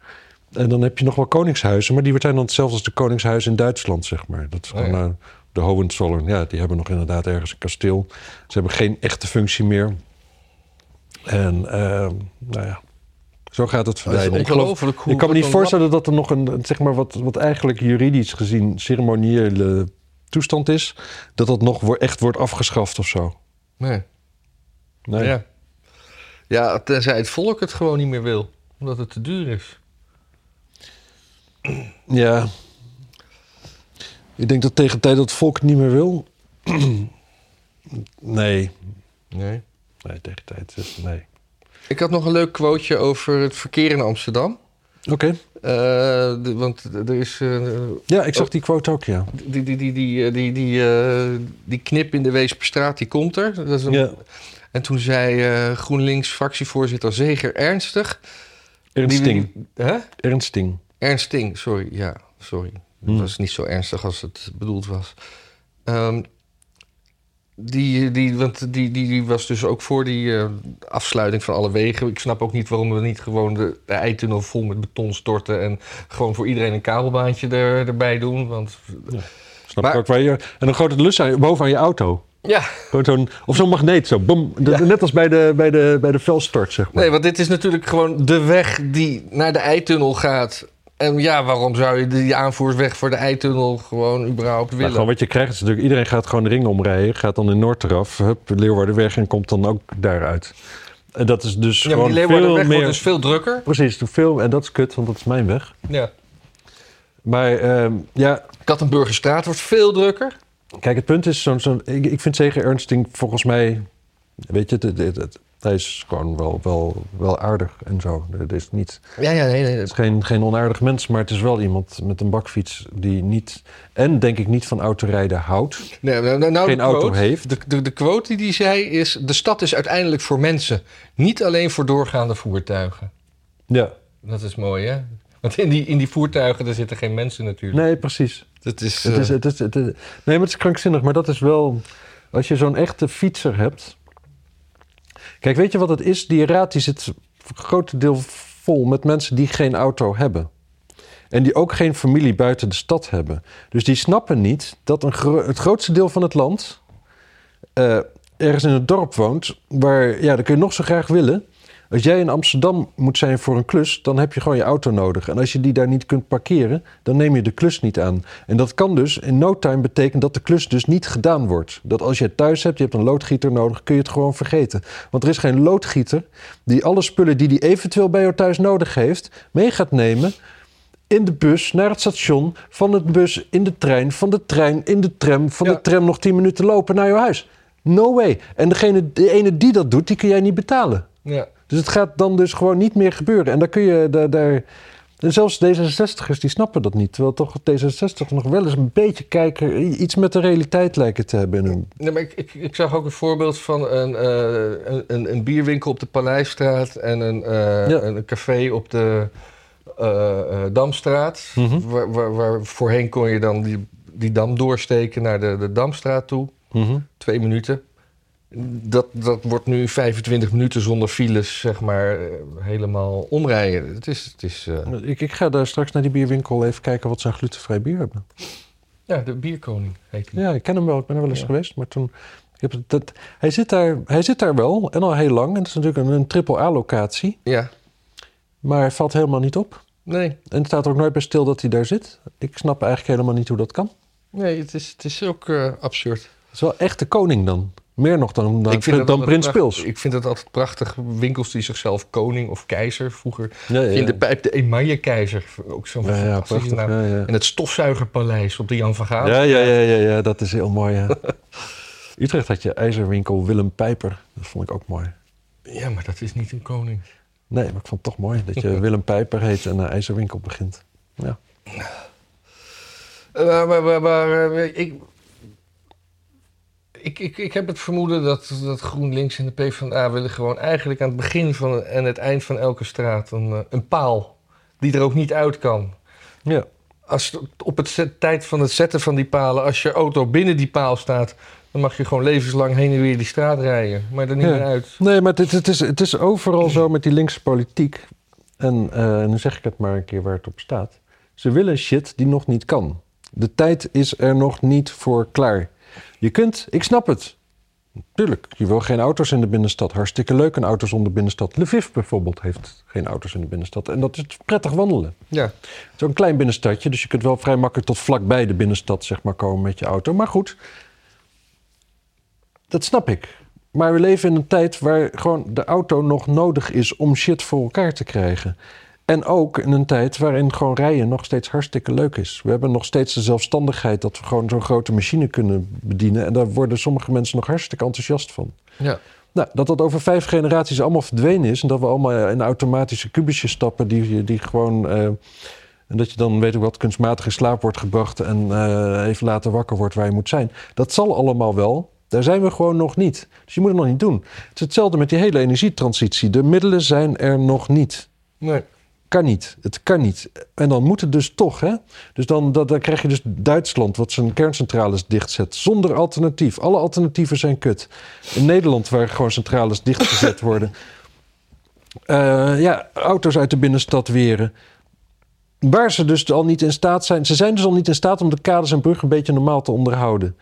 [SPEAKER 2] En dan heb je nog wel koningshuizen, maar die zijn dan hetzelfde als de koningshuizen in Duitsland, zeg maar. Dat is
[SPEAKER 1] Oh,
[SPEAKER 2] gewoon
[SPEAKER 1] ja.
[SPEAKER 2] eh, de Hohenzollern. Ja, die hebben nog inderdaad ergens een kasteel. Ze hebben geen echte functie meer. En ehm, nou ja, zo gaat het
[SPEAKER 1] Het is
[SPEAKER 2] verdwijnen. Ik geloof-
[SPEAKER 1] ongelooflijk hoe.
[SPEAKER 2] ik kan me
[SPEAKER 1] wat
[SPEAKER 2] niet
[SPEAKER 1] een
[SPEAKER 2] voorstellen dat er nog een, een, zeg maar, wat, wat eigenlijk juridisch gezien ceremoniële toestand is, dat dat nog wo- echt wordt afgeschaft of zo.
[SPEAKER 1] lap- Nee.
[SPEAKER 2] Nee.
[SPEAKER 1] Ja. ja, tenzij het volk het gewoon niet meer wil, omdat het te duur is.
[SPEAKER 2] Ja. Ik denk dat tegen de tijd dat het volk het niet meer wil. nee.
[SPEAKER 1] Nee.
[SPEAKER 2] Nee, tegen de tijd. is- Nee.
[SPEAKER 1] Ik had nog een leuk quoteje over het verkeer in Amsterdam.
[SPEAKER 2] Oké.
[SPEAKER 1] Eh, de- want er is eh,
[SPEAKER 2] Ja, ik zag die quote ook, ja.
[SPEAKER 1] die, die, die, die, eh, die, die, eh, die knip in de Weesperstraat, die komt er. Dat is een-
[SPEAKER 2] ja.
[SPEAKER 1] En toen zei eh, GroenLinks-fractievoorzitter Zeger ernstig...
[SPEAKER 2] Ernst
[SPEAKER 1] die-
[SPEAKER 2] Sting.
[SPEAKER 1] Hè?
[SPEAKER 2] Ernst Sting.
[SPEAKER 1] Ernst Sting, sorry. Ja, sorry.
[SPEAKER 2] Hmm.
[SPEAKER 1] Het was niet zo ernstig als het bedoeld was. Ehm, die, die, want die, die, die was dus ook voor die eh, afsluiting van alle wegen. Ik snap ook niet waarom we niet gewoon de, de eitunnel vol met beton storten... en gewoon voor iedereen een kabelbaantje er, erbij doen. Want
[SPEAKER 2] Snap
[SPEAKER 1] Maar-
[SPEAKER 2] ik ook waar je... En een grote lus aan, boven aan je auto.
[SPEAKER 1] ja,
[SPEAKER 2] Gewoon zo'n, of zo'n magneet, zo. Boom. De- Net als bij de, bij, de, bij de velstort, zeg maar.
[SPEAKER 1] nee, want dit is natuurlijk gewoon de weg die naar de eitunnel gaat... En ja, waarom zou je die aanvoersweg voor de eitunnel gewoon überhaupt
[SPEAKER 2] Maar
[SPEAKER 1] willen?
[SPEAKER 2] Nou, gewoon wat je krijgt is natuurlijk, iedereen gaat gewoon de ring omrijden, gaat dan in Noord eraf, hup, Leeuwardenweg en komt dan ook daaruit. En dat is dus
[SPEAKER 1] ja, maar
[SPEAKER 2] gewoon
[SPEAKER 1] die
[SPEAKER 2] veel
[SPEAKER 1] Leeuwardenweg
[SPEAKER 2] meer...
[SPEAKER 1] wordt dus veel drukker.
[SPEAKER 2] Precies, veel, en dat is kut, want dat is mijn weg.
[SPEAKER 1] Ja.
[SPEAKER 2] Maar ehm, ja,
[SPEAKER 1] Kattenburgerstraat wordt veel drukker.
[SPEAKER 2] kijk, het punt is, zo'n, zo'n, ik, ik vind zeker Ernsting volgens mij, weet je, het, het- het- hij is gewoon wel, wel, wel aardig en zo. Het is niet...
[SPEAKER 1] Ja, ja, nee, nee.
[SPEAKER 2] Het is geen, geen onaardig mens, maar het is wel iemand met een bakfiets die niet... en denk ik niet van autorijden houdt.
[SPEAKER 1] nee nou, nou, nou,
[SPEAKER 2] Geen
[SPEAKER 1] de
[SPEAKER 2] auto
[SPEAKER 1] quote,
[SPEAKER 2] heeft.
[SPEAKER 1] De, de, de quote die die zei is... De stad is uiteindelijk voor mensen. Niet alleen voor doorgaande voertuigen.
[SPEAKER 2] Ja.
[SPEAKER 1] Dat is mooi, hè? Want in die, in die voertuigen daar zitten geen mensen natuurlijk.
[SPEAKER 2] Nee, precies.
[SPEAKER 1] Dat is...
[SPEAKER 2] Het is,
[SPEAKER 1] eh,
[SPEAKER 2] het is, het is- nee, maar het is krankzinnig. Maar dat is wel... Als je zo'n echte fietser hebt... Kijk, weet je wat het is? Die raad die zit een groot deel vol met mensen die geen auto hebben. En die ook geen familie buiten de stad hebben. Dus die snappen niet dat een gro- het grootste deel van het land eh, ergens in het dorp woont. Waar, ja, dat kun je nog zo graag willen. Als jij in Amsterdam moet zijn voor een klus, dan heb je gewoon je auto nodig. En als je die daar niet kunt parkeren, dan neem je de klus niet aan. En dat kan dus in no time betekenen dat de klus dus niet gedaan wordt. Dat als je het thuis hebt, je hebt een loodgieter nodig, kun je het gewoon vergeten. Want er is geen loodgieter die alle spullen die hij eventueel bij jou thuis nodig heeft, mee gaat nemen in de bus naar het station, van het bus in de trein, van de trein in de tram, van
[SPEAKER 1] Ja.
[SPEAKER 2] de tram nog 10 minuten lopen naar jouw huis. No way. En degene, de ene die dat doet, die kun jij niet betalen.
[SPEAKER 1] Ja.
[SPEAKER 2] Dus het gaat dan dus gewoon niet meer gebeuren. En daar kun je daar. daar en zelfs D66'ers die snappen dat niet. Terwijl toch D66 nog wel eens een beetje kijken, i- iets met de realiteit lijken te hebben. in hun-
[SPEAKER 1] Nee, maar ik, ik, ik zag ook een voorbeeld van een, eh, een- een, een bierwinkel op de Paleisstraat en een, eh,
[SPEAKER 2] Ja.
[SPEAKER 1] een, een café op de eh, eh, Damstraat.
[SPEAKER 2] Mhm.
[SPEAKER 1] waar, waar, waar voorheen kon je dan die, die dam doorsteken naar de, de Damstraat toe. Twee minuten. Dat, dat wordt nu 25 minuten zonder files, zeg maar, eh, helemaal omrijden. Het is, het is eh,
[SPEAKER 2] Ik, ik ga daar straks naar die bierwinkel even kijken wat ze aan glutenvrij bier hebben.
[SPEAKER 1] ja, de bierkoning heet die.
[SPEAKER 2] Ja, ik ken hem wel. Ik ben er wel eens
[SPEAKER 1] Ja.
[SPEAKER 2] geweest. Maar toen. Ik heb het- dat, hij, zit daar, hij zit daar wel en al heel lang. En het is natuurlijk een, triple A-locatie.
[SPEAKER 1] Ja,
[SPEAKER 2] Maar hij valt helemaal niet op.
[SPEAKER 1] nee.
[SPEAKER 2] En het staat ook nooit bij stil dat hij daar zit. Ik snap eigenlijk helemaal niet hoe dat kan.
[SPEAKER 1] Nee, het is, het is ook eh, absurd.
[SPEAKER 2] Dat is wel echt de koning dan. Meer nog dan, dan,
[SPEAKER 1] dat
[SPEAKER 2] dan
[SPEAKER 1] altijd
[SPEAKER 2] Prins
[SPEAKER 1] prachtig-
[SPEAKER 2] Pils.
[SPEAKER 1] Ik vind het altijd prachtig. Winkels die zichzelf koning of keizer vroeger.
[SPEAKER 2] Ja, ja,
[SPEAKER 1] In de pijp de Emaille keizer. Ook zo'n
[SPEAKER 2] ja, ja,
[SPEAKER 1] fantastische
[SPEAKER 2] prachtig.
[SPEAKER 1] naam.
[SPEAKER 2] Ja, ja.
[SPEAKER 1] En het stofzuigerpaleis op de Jan van Gaal.
[SPEAKER 2] Ja, ja, ja, ja, ja, dat is heel mooi. Ja. Utrecht had je ijzerwinkel Willem Pijper. Dat vond ik ook mooi.
[SPEAKER 1] Ja, maar dat is niet een koning.
[SPEAKER 2] Nee, maar ik vond het toch mooi dat je Willem Pijper heet en een ijzerwinkel begint. Ja.
[SPEAKER 1] Eh, maar maar, maar, maar, eh, ik, ik, ik, ik heb het vermoeden dat, dat GroenLinks en de PvdA willen gewoon eigenlijk aan het begin van en het eind van elke straat een, eh, een paal die er ook niet uit kan.
[SPEAKER 2] ja.
[SPEAKER 1] Als het- op het zet- tijd van het zetten van die palen, als je auto binnen die paal staat, dan mag je gewoon levenslang heen en weer die straat rijden, maar er niet
[SPEAKER 2] Ja.
[SPEAKER 1] meer uit.
[SPEAKER 2] Nee, maar het, het, is, het is overal zo met die linkse politiek. En eh, nu zeg ik het maar een keer waar het op staat. Ze willen shit die nog niet kan. De tijd is er nog niet voor klaar. Je kunt, ik snap het. Tuurlijk, je wil geen auto's in de binnenstad. Hartstikke leuk, een auto zonder binnenstad. Lviv bijvoorbeeld heeft geen auto's in de binnenstad. En dat is prettig wandelen.
[SPEAKER 1] Ja,
[SPEAKER 2] Het is ook een klein binnenstadje, dus je kunt wel vrij makkelijk tot vlakbij de binnenstad zeg maar, komen met je auto. Maar goed, dat snap ik. Maar we leven in een tijd waar gewoon de auto nog nodig is om shit voor elkaar te krijgen. En ook in een tijd waarin gewoon rijden nog steeds hartstikke leuk is. We hebben nog steeds de zelfstandigheid dat we gewoon zo'n grote machine kunnen bedienen. En daar worden sommige mensen nog hartstikke enthousiast van.
[SPEAKER 1] ja.
[SPEAKER 2] Nou, dat dat over vijf generaties allemaal verdwenen is. En dat we allemaal eh, in automatische kubusjes stappen die, die gewoon. eh, en dat je dan, weet ik wat, kunstmatig in slaap wordt gebracht. en eh, even later wakker wordt waar je moet zijn. Dat zal allemaal wel. Daar zijn we gewoon nog niet. Dus je moet het nog niet doen. Het is hetzelfde met die hele energietransitie. De middelen zijn er nog niet.
[SPEAKER 1] Nee.
[SPEAKER 2] Kan niet. Het kan niet. En dan moet het dus toch, hè? Dus dan, dat, dan krijg je dus Duitsland, wat zijn kerncentrales dichtzet. Zonder alternatief. Alle alternatieven zijn kut. In Nederland, waar gewoon centrales dichtgezet worden. Eh, ja, auto's uit de binnenstad weren. Waar ze dus al niet in staat zijn. Ze zijn dus al niet in staat om de kades en bruggen een beetje normaal te onderhouden.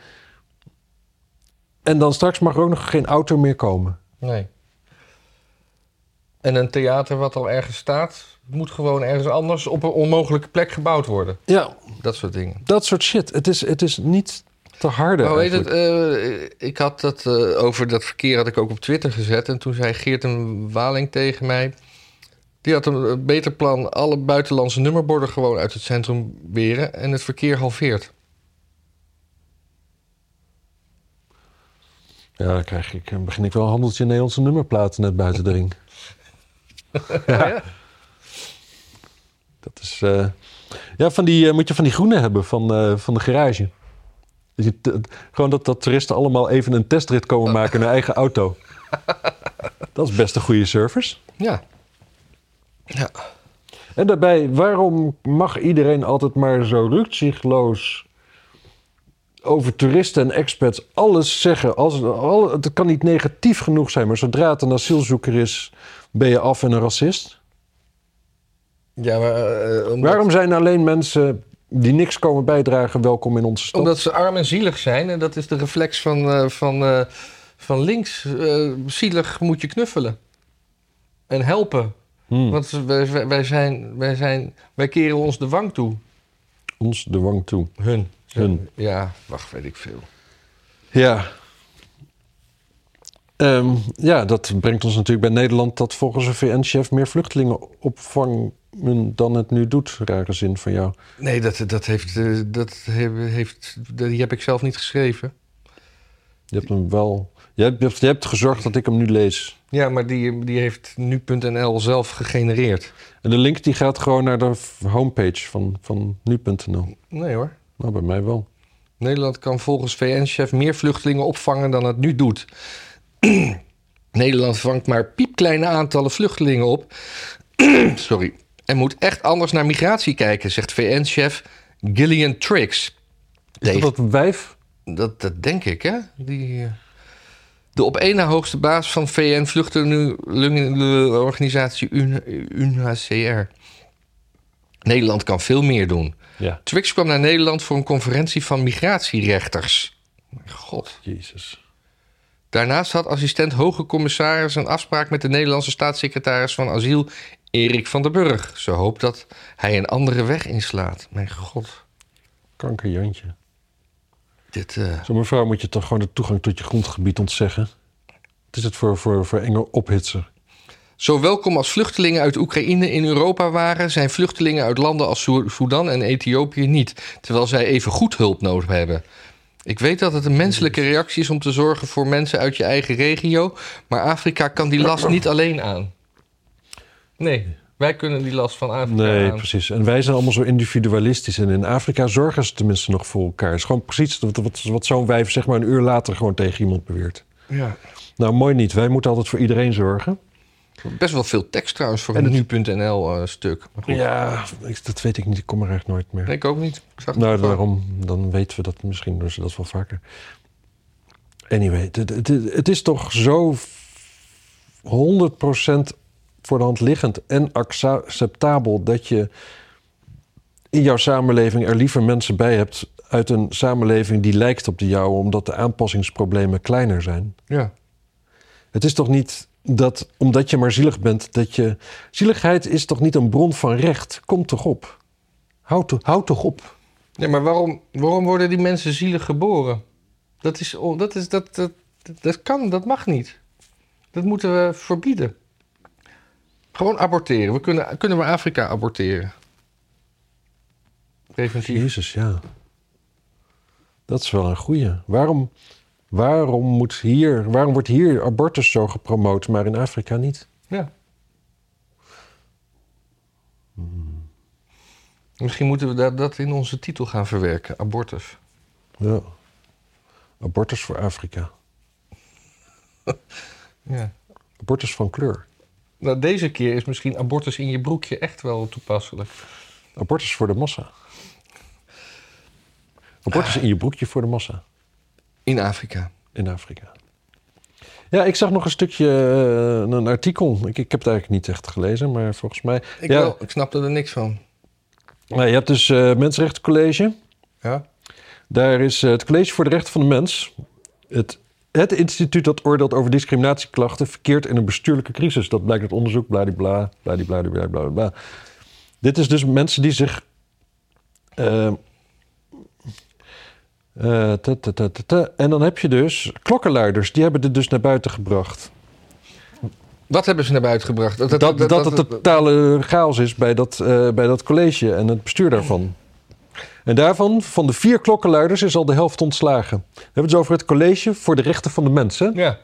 [SPEAKER 2] En dan straks mag er ook nog geen auto meer komen.
[SPEAKER 1] Nee. En een theater wat al ergens staat, moet gewoon ergens anders op een onmogelijke plek gebouwd worden.
[SPEAKER 2] Ja,
[SPEAKER 1] Dat soort dingen.
[SPEAKER 2] dat soort shit. Het is, het is niet te harde.
[SPEAKER 1] Nou, weet
[SPEAKER 2] eigenlijk.
[SPEAKER 1] het, eh, ik had dat eh, over dat verkeer had ik ook op Twitter gezet. En toen zei Geert een Waling tegen mij. Die had een eh, beter plan alle buitenlandse nummerborden gewoon uit het centrum weren en het verkeer halveert.
[SPEAKER 2] Ja, dan krijg ik, dan begin ik wel een handeltje Nederlandse nummerplaten net buiten de ring.
[SPEAKER 1] Ja. ja.
[SPEAKER 2] Dat is. eh, ja, van die, eh, moet je van die groene hebben van, eh, van de garage. Dat je te- gewoon dat, dat toeristen allemaal even een testrit komen maken in hun eigen auto. Dat is best een goede service.
[SPEAKER 1] ja.
[SPEAKER 2] En daarbij, waarom mag iedereen altijd maar zo rukzichtloos over toeristen en expats alles zeggen? Als, al, het kan niet negatief genoeg zijn, maar zodra het een asielzoeker is, ben je af en een racist.
[SPEAKER 1] Ja, maar, eh, omdat,
[SPEAKER 2] Waarom zijn alleen mensen die niks komen bijdragen welkom in onze stad?
[SPEAKER 1] omdat ze arm en zielig zijn. En dat is de reflex van, eh, van, eh, van links. Eh, zielig moet je knuffelen. En helpen.
[SPEAKER 2] Hmm,
[SPEAKER 1] Want wij, wij- wij, zijn, wij, zijn, wij keren ons de wang toe.
[SPEAKER 2] Ons de wang toe.
[SPEAKER 1] Hun.
[SPEAKER 2] Hun.
[SPEAKER 1] Ja, wacht, weet ik veel.
[SPEAKER 2] Ja. Ehm, ja, dat brengt ons natuurlijk bij Nederland dat volgens een VN-chef meer vluchtelingen opvangen dan het nu doet. Rare zin van jou.
[SPEAKER 1] Nee, dat, dat, heeft, eh, dat he- heeft, die heb ik zelf niet geschreven.
[SPEAKER 2] Je hebt hem wel. Je hebt, je hebt- je hebt gezorgd dat ik hem nu lees.
[SPEAKER 1] Ja, maar die, die heeft nu.nl zelf gegenereerd.
[SPEAKER 2] En de link die gaat gewoon naar de f- homepage van, van nu.nl.
[SPEAKER 1] Nee hoor.
[SPEAKER 2] Nou, bij mij wel.
[SPEAKER 1] Nederland kan volgens VN-chef meer vluchtelingen opvangen dan het nu doet. Nederland vangt maar piepkleine aantallen vluchtelingen op. Sorry. En moet echt anders naar migratie kijken, zegt VN-chef Gillian Triggs.
[SPEAKER 2] Is
[SPEAKER 1] Tegen-
[SPEAKER 2] dat dat wijf?
[SPEAKER 1] Dat, dat denk ik, hè? Die, eh, de op één na hoogste baas van VN-vluchtelingenorganisatie UNHCR. Nederland kan veel meer doen.
[SPEAKER 2] Ja.
[SPEAKER 1] Twix kwam naar Nederland voor een conferentie van migratierechters. Mijn god.
[SPEAKER 2] Jezus.
[SPEAKER 1] Daarnaast had assistent hoge commissaris een afspraak met de Nederlandse staatssecretaris van asiel Erik van den Burg. Ze hoopt dat hij een andere weg inslaat. Mijn god.
[SPEAKER 2] Kankerjantje.
[SPEAKER 1] Dit, eh,
[SPEAKER 2] Zo'n mevrouw moet je toch gewoon de toegang tot je grondgebied ontzeggen? Wat is het voor, voor, voor enge ophitser?
[SPEAKER 1] Zo welkom als vluchtelingen uit Oekraïne in Europa waren, zijn vluchtelingen uit landen als Soe- Soedan en Ethiopië niet, terwijl zij even goed hulp nodig hebben. Ik weet dat het een menselijke reactie is om te zorgen voor mensen uit je eigen regio, maar Afrika kan die last niet alleen aan. Nee, wij kunnen die last van Afrika
[SPEAKER 2] Nee,
[SPEAKER 1] aan.
[SPEAKER 2] precies. En wij zijn allemaal zo individualistisch. En in Afrika zorgen ze tenminste nog voor elkaar. Het is gewoon precies wat, wat, wat zo'n wijf zeg maar een uur later gewoon tegen iemand beweert.
[SPEAKER 1] Ja.
[SPEAKER 2] Nou, mooi niet. Wij moeten altijd voor iedereen zorgen.
[SPEAKER 1] Best wel veel tekst trouwens voor
[SPEAKER 2] En
[SPEAKER 1] een nu.nl eh, stuk. Maar goed,
[SPEAKER 2] Ja, ik- dat weet ik niet. Ik kom er echt nooit meer.
[SPEAKER 1] nee, ik ook niet. Ik zag het
[SPEAKER 2] Nou,
[SPEAKER 1] gewoon.
[SPEAKER 2] daarom, dan weten we dat. Misschien doen ze dat wel vaker. Anyway, het- het- het het is toch zo 100% voor de hand liggend en acceptabel dat je in jouw samenleving er liever mensen bij hebt uit een samenleving die lijkt op de jouwe, omdat de aanpassingsproblemen kleiner zijn.
[SPEAKER 1] Ja.
[SPEAKER 2] Het is toch niet dat omdat je maar zielig bent, dat je. Zieligheid is toch niet een bron van recht? Kom toch op. Houd to- houd toch op.
[SPEAKER 1] Ja, maar waarom, waarom worden die mensen zielig geboren? Dat, is, on- dat, is, dat, dat, dat kan, dat mag niet. Dat moeten we verbieden. Gewoon aborteren. We kunnen, kunnen we Afrika aborteren? Preventief.
[SPEAKER 2] Jezus, ja. Dat is wel een goeie. Waarom, waarom, moet hier, waarom wordt hier abortus zo gepromoot, maar in Afrika niet?
[SPEAKER 1] Ja. Misschien moeten we dat, dat in onze titel gaan verwerken. Abortus.
[SPEAKER 2] Ja. Abortus voor Afrika.
[SPEAKER 1] Ja.
[SPEAKER 2] Abortus van kleur.
[SPEAKER 1] Nou, deze keer is misschien abortus in je broekje echt wel toepasselijk.
[SPEAKER 2] Abortus voor de massa. Abortus in je broekje voor de massa
[SPEAKER 1] In Afrika.
[SPEAKER 2] in Afrika. Ja, ik zag nog een stukje, eh, een artikel. Ik, ik heb het eigenlijk niet echt gelezen, maar volgens mij...
[SPEAKER 1] Ik,
[SPEAKER 2] ja,
[SPEAKER 1] wel, ik snapte er niks van.
[SPEAKER 2] nou, je hebt dus eh Mensenrechtencollege.
[SPEAKER 1] Ja?
[SPEAKER 2] Daar is eh, het College voor de Rechten van de Mens. Het, het instituut dat oordeelt over discriminatieklachten verkeert in een bestuurlijke crisis. Dat blijkt uit onderzoek, bladibla, bladibla, bladibla, bladibla. Dit is dus mensen die zich... eh, eh, ta, ta, ta, ta, ta. En dan heb je dus klokkenluiders. Die hebben dit dus naar buiten gebracht.
[SPEAKER 1] Wat hebben ze naar buiten gebracht?
[SPEAKER 2] Dat, dat, het totale chaos is bij dat, eh, bij dat college en het bestuur daarvan. En daarvan, van de vier klokkenluiders, is al de helft ontslagen. We hebben het dus over het college voor de rechten van de mensen.
[SPEAKER 1] Ja.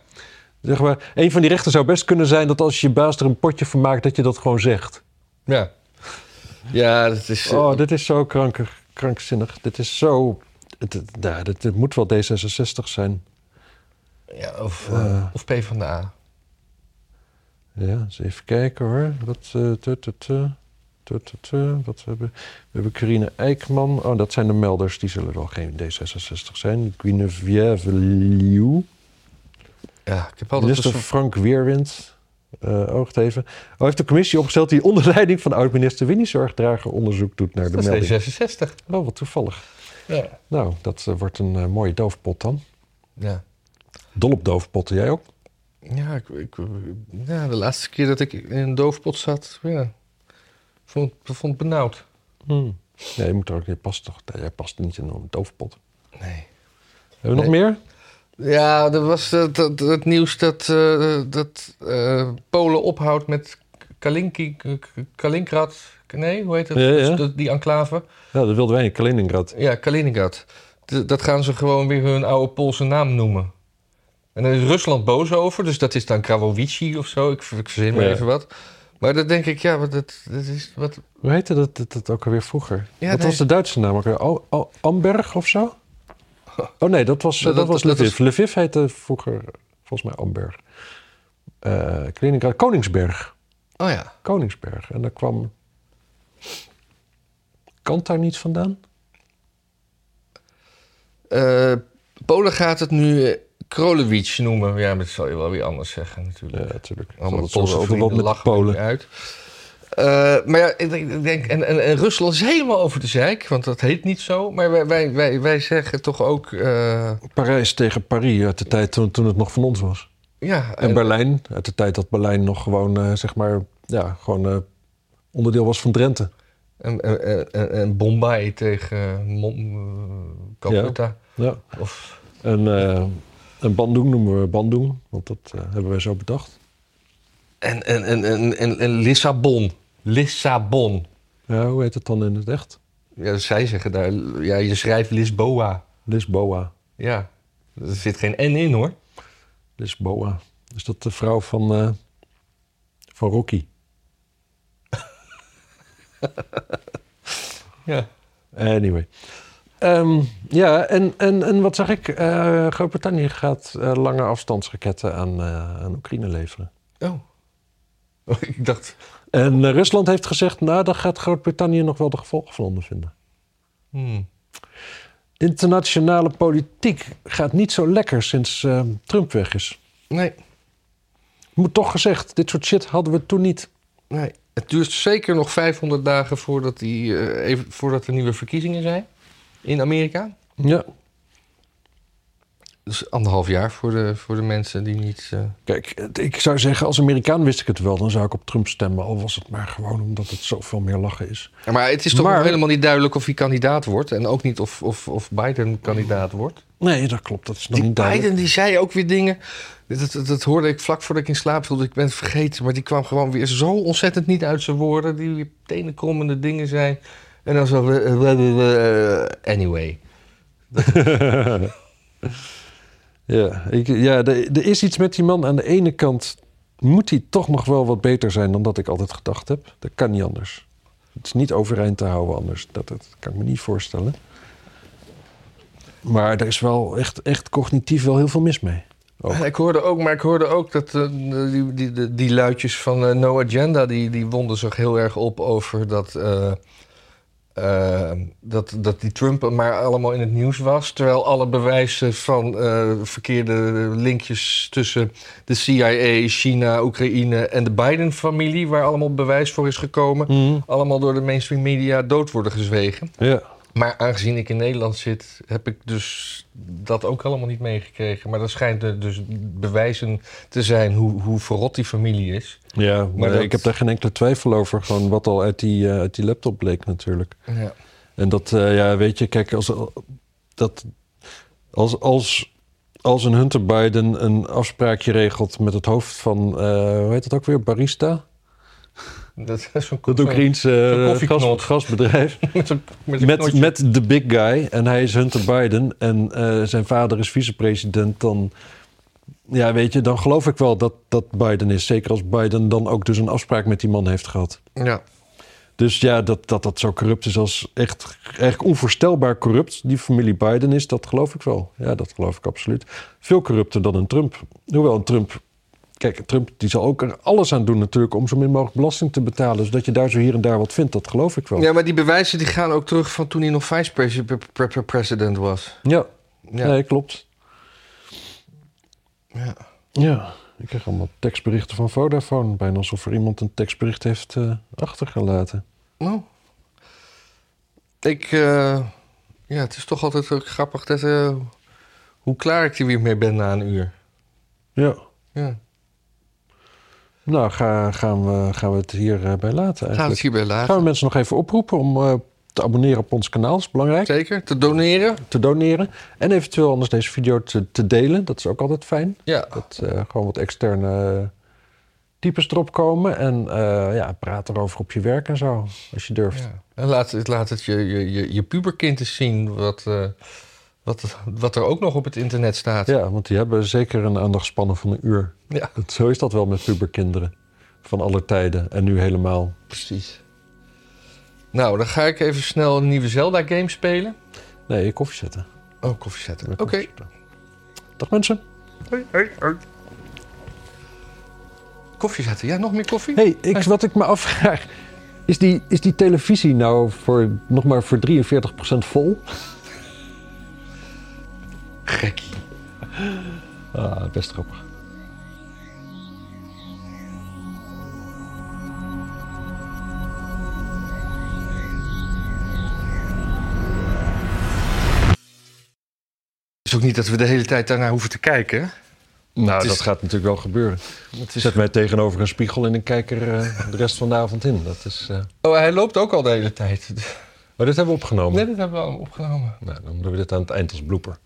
[SPEAKER 2] Zeg maar, een van die rechten zou best kunnen zijn dat als je baas er een potje van maakt, dat je dat gewoon zegt.
[SPEAKER 1] Ja. Ja, dat is... eh,
[SPEAKER 2] Oh, dit is zo kranker, krankzinnig. Dit is zo. Het, het- nou, dit, dit moet wel D66 zijn.
[SPEAKER 1] ja, of, eh, of P van de A.
[SPEAKER 2] Ja, eens even kijken hoor. Wat, eh, tu, tu, tu, tu, tu, tu. Wat we hebben we? hebben Carine Eijkman. Oh, dat zijn de melders. Die zullen wel geen D66 zijn. Guinevere Liu. Oh,
[SPEAKER 1] Ja, ik heb altijd...
[SPEAKER 2] Minister
[SPEAKER 1] een soort-
[SPEAKER 2] Frank Weerwind. eh oogt even. Oh, heeft de commissie opgesteld die onder leiding van oud-minister Winnie Zorgdrager onderzoek doet naar de
[SPEAKER 1] Dat
[SPEAKER 2] melding.
[SPEAKER 1] is D66.
[SPEAKER 2] Oh, wat toevallig.
[SPEAKER 1] Ja.
[SPEAKER 2] Nou, dat eh, wordt een eh, mooie doofpot dan.
[SPEAKER 1] Ja.
[SPEAKER 2] Dol op doofpotten, jij ook?
[SPEAKER 1] Ja, ik, ik, ja, de laatste keer dat ik in een doofpot zat, ja, vond, vond het benauwd.
[SPEAKER 2] Hmm. Ja, je moet er ook, je past toch, jij past niet in een doofpot.
[SPEAKER 1] Nee.
[SPEAKER 2] Hebben we nog
[SPEAKER 1] Nee.
[SPEAKER 2] meer?
[SPEAKER 1] Ja, er was dat, dat, dat nieuws dat, eh, dat eh, Polen ophoudt met Kalinki, K- K- Kaliningrad. Nee, hoe heet dat?
[SPEAKER 2] Ja, ja.
[SPEAKER 1] Dat- Die enclave.
[SPEAKER 2] Ja, dat wilden wij in Kaliningrad.
[SPEAKER 1] Ja, Kaliningrad. D- dat gaan ze gewoon weer hun oude Poolse naam noemen. En daar is Rusland boos over, dus dat is dan Krawowici of zo. Ik, ver- ik verzin maar
[SPEAKER 2] Ja.
[SPEAKER 1] even wat. Maar dan denk ik, ja, wat, dat, dat is, wat,
[SPEAKER 2] Hoe heette dat, dat, dat ook alweer vroeger?
[SPEAKER 1] Ja,
[SPEAKER 2] wat
[SPEAKER 1] nee.
[SPEAKER 2] was de Duitse naam ook alweer? O- O- Amberg of zo? Oh nee, dat was,
[SPEAKER 1] Dat-
[SPEAKER 2] dat,
[SPEAKER 1] dat-
[SPEAKER 2] was
[SPEAKER 1] dat
[SPEAKER 2] Lviv. Lviv heette vroeger volgens mij Amberg. Eh Kaliningrad, Koningsberg.
[SPEAKER 1] oh ja.
[SPEAKER 2] Koningsberg. En daar kwam... Kant daar niet vandaan?
[SPEAKER 1] Eh, Polen gaat het nu eh, Krolewicz noemen. Ja, maar dat zal je wel weer anders zeggen natuurlijk.
[SPEAKER 2] Ja, natuurlijk.
[SPEAKER 1] Allemaal
[SPEAKER 2] Dat was
[SPEAKER 1] Poolse
[SPEAKER 2] overlap
[SPEAKER 1] vrienden
[SPEAKER 2] met de
[SPEAKER 1] lachen me
[SPEAKER 2] Polen.
[SPEAKER 1] nu uit. Eh, maar ja, ik denk, ik denk- en, en, en Rusland is helemaal over de zeik, want dat heet niet zo. Maar wij, wij, wij, wij zeggen toch ook, eh,
[SPEAKER 2] Parijs tegen Parijs uit de tijd toen, toen het nog van ons was.
[SPEAKER 1] ja,
[SPEAKER 2] En,
[SPEAKER 1] en-
[SPEAKER 2] Berlijn, uit de tijd dat Berlijn nog gewoon, eh, zeg maar, ja, gewoon eh, onderdeel was van Drenthe.
[SPEAKER 1] en, en, en, en Bombay tegen eh, Mon, eh, Calcutta.
[SPEAKER 2] Ja.
[SPEAKER 1] Of,
[SPEAKER 2] En, eh, en Bandung noemen we Bandung, want dat eh, hebben wij zo bedacht.
[SPEAKER 1] en, en, en, en, en, en Lissabon. Lissabon.
[SPEAKER 2] Ja, hoe heet het dan in het echt?
[SPEAKER 1] Ja, zij zeggen daar, ja, je schrijft Lisboa.
[SPEAKER 2] Lisboa.
[SPEAKER 1] Ja, er zit geen N in hoor.
[SPEAKER 2] Lisboa. Is dat de vrouw van, eh, van Rocky?
[SPEAKER 1] Ja.
[SPEAKER 2] Anyway. Ehm, ja, en, en, en wat zag ik? Eh, Groot-Brittannië gaat eh, lange afstandsraketten aan, eh, aan Oekraïne leveren.
[SPEAKER 1] Oh. Oh, Ik dacht,
[SPEAKER 2] En eh, Rusland heeft gezegd, nou, daar gaat Groot-Brittannië nog wel de gevolgen van ondervinden.
[SPEAKER 1] hmm,
[SPEAKER 2] Internationale politiek gaat niet zo lekker sinds eh, Trump weg is.
[SPEAKER 1] nee,
[SPEAKER 2] Moet toch gezegd, dit soort shit hadden we toen niet.
[SPEAKER 1] nee. Het duurt zeker nog 500 dagen voordat, die, eh, even, voordat er nieuwe verkiezingen zijn in Amerika.
[SPEAKER 2] Ja.
[SPEAKER 1] Dus anderhalf jaar voor de, voor de mensen die niet... eh,
[SPEAKER 2] Kijk, het- ik zou zeggen, als Amerikaan wist ik het wel, dan zou ik op Trump stemmen. Al was het maar gewoon omdat het zoveel meer lachen is.
[SPEAKER 1] Maar het is toch
[SPEAKER 2] Maar-
[SPEAKER 1] nog helemaal niet duidelijk of hij kandidaat wordt. En ook niet of, of, of Biden kandidaat wordt.
[SPEAKER 2] Nee, dat klopt. Dat is nog
[SPEAKER 1] Die
[SPEAKER 2] niet duidelijk.
[SPEAKER 1] Biden die zei ook weer dingen. Dat, dat, dat hoorde ik vlak voordat ik in slaap viel. Ik ben het vergeten. Maar die kwam gewoon weer zo ontzettend niet uit zijn woorden. Die weer tenenkrommende dingen zei. En dan zo. eh, eh, eh, eh, Anyway.
[SPEAKER 2] Ja, ik, ja er, er is iets met die man. Aan de ene kant moet hij toch nog wel wat beter zijn dan dat ik altijd gedacht heb. Dat kan niet anders. Het is niet overeind te houden anders. Dat, dat kan ik me niet voorstellen. Maar er is wel echt, echt cognitief wel heel veel mis mee. Ook.
[SPEAKER 1] En Ik hoorde ook, maar ik hoorde ook dat eh, die, die, die, die luidjes van eh, No Agenda. Die, die wonden zich heel erg op over dat. eh, eh, dat, dat die Trump maar allemaal in het nieuws was. Terwijl alle bewijzen van eh, verkeerde linkjes tussen de CIA, China, Oekraïne en de Biden-familie, waar allemaal bewijs voor is gekomen,
[SPEAKER 2] Mhm.
[SPEAKER 1] allemaal door de mainstream media dood worden gezwegen.
[SPEAKER 2] Ja.
[SPEAKER 1] Maar aangezien ik in Nederland zit, heb ik dus dat ook allemaal niet meegekregen. Maar dat schijnt er dus bewijzen te zijn hoe, hoe verrot die familie is.
[SPEAKER 2] Ja, maar
[SPEAKER 1] Maar dat-
[SPEAKER 2] ik heb daar geen enkele twijfel over. Gewoon wat al uit die, eh, uit die laptop bleek natuurlijk.
[SPEAKER 1] Ja.
[SPEAKER 2] En dat, eh, ja, weet je, kijk, als, dat, als, als, als een Hunter Biden een afspraakje regelt met het hoofd van, eh, hoe heet dat ook weer, Barista?
[SPEAKER 1] Dat is zo'n
[SPEAKER 2] Dat
[SPEAKER 1] zo'n-
[SPEAKER 2] Oekraïense
[SPEAKER 1] zo'n
[SPEAKER 2] eh,
[SPEAKER 1] koffieknot.
[SPEAKER 2] gas- gasbedrijf.
[SPEAKER 1] met zo'n- met zo'n
[SPEAKER 2] met,
[SPEAKER 1] knotje.
[SPEAKER 2] met de big guy. En hij is Hunter Biden. En eh, zijn vader is vicepresident. Dan, ja, weet je, dan geloof ik wel dat, dat Biden is. Zeker als Biden dan ook dus een afspraak met die man heeft gehad.
[SPEAKER 1] Ja.
[SPEAKER 2] Dus ja, dat dat, dat zo corrupt is als echt, echt onvoorstelbaar corrupt die familie Biden is, dat geloof ik wel. Ja, dat geloof ik absoluut. Veel corrupter dan een Trump. Hoewel een Trump, kijk, een Trump die zal ook er alles aan doen natuurlijk om zo min mogelijk belasting te betalen. Zodat je daar zo hier en daar wat vindt, dat geloof ik wel.
[SPEAKER 1] Ja, maar die bewijzen die gaan ook terug van toen hij nog vice-president was.
[SPEAKER 2] ja.
[SPEAKER 1] Ja.
[SPEAKER 2] Nee, klopt.
[SPEAKER 1] Ja.
[SPEAKER 2] Ja. Ik krijg allemaal tekstberichten van Vodafone. Bijna alsof er iemand een tekstbericht heeft eh, achtergelaten.
[SPEAKER 1] Nou. Ik, eh, ja, het is toch altijd ook grappig dat, eh, hoe klaar ik er weer mee ben na een uur.
[SPEAKER 2] Ja.
[SPEAKER 1] Ja.
[SPEAKER 2] Nou, ga, gaan, we, gaan we het hierbij bij laten
[SPEAKER 1] Gaan we
[SPEAKER 2] eigenlijk.
[SPEAKER 1] het hierbij
[SPEAKER 2] Gaan
[SPEAKER 1] laten.
[SPEAKER 2] we mensen nog even oproepen om eh, te abonneren op ons kanaal. Dat is belangrijk.
[SPEAKER 1] Zeker, te doneren.
[SPEAKER 2] Te doneren. En eventueel anders deze video te, te delen. Dat is ook altijd fijn.
[SPEAKER 1] Ja,
[SPEAKER 2] Dat eh, gewoon wat externe types erop komen. En eh, ja, praat erover op je werk en zo. Als je durft.
[SPEAKER 1] Ja. En laat, het- laat het je, je, je, je puberkind eens zien wat, eh, wat, wat er ook nog op het internet staat.
[SPEAKER 2] Ja, want die hebben zeker een aandachtspannen van een uur.
[SPEAKER 1] Ja.
[SPEAKER 2] Dat- Zo is dat wel met puberkinderen. Van alle tijden en nu helemaal.
[SPEAKER 1] precies. Nou, dan ga ik even snel een nieuwe Zelda-game spelen.
[SPEAKER 2] Nee, je koffie zetten.
[SPEAKER 1] Oh, koffie zetten. Oké.
[SPEAKER 2] Koffie zetten. Dag mensen.
[SPEAKER 1] Koffie zetten. Ja, nog meer koffie?
[SPEAKER 2] hey, ik, wat ik me afvraag. Is die, is die televisie nou voor, nog maar voor 43% vol?
[SPEAKER 1] Gekkie.
[SPEAKER 2] Ah, best grappig.
[SPEAKER 1] Het is ook niet dat we de hele tijd daarnaar hoeven te kijken. hè?
[SPEAKER 2] Nou,
[SPEAKER 1] is-
[SPEAKER 2] dat gaat natuurlijk wel gebeuren. Zet mij tegenover een spiegel en ik kijk er eh, de rest van de avond in. Dat is, eh,
[SPEAKER 1] Oh, hij loopt ook al de hele tijd.
[SPEAKER 2] Maar dit hebben we opgenomen.
[SPEAKER 1] Nee, dat hebben we allemaal opgenomen.
[SPEAKER 2] Nou, dan doen we dit aan het eind als blooper.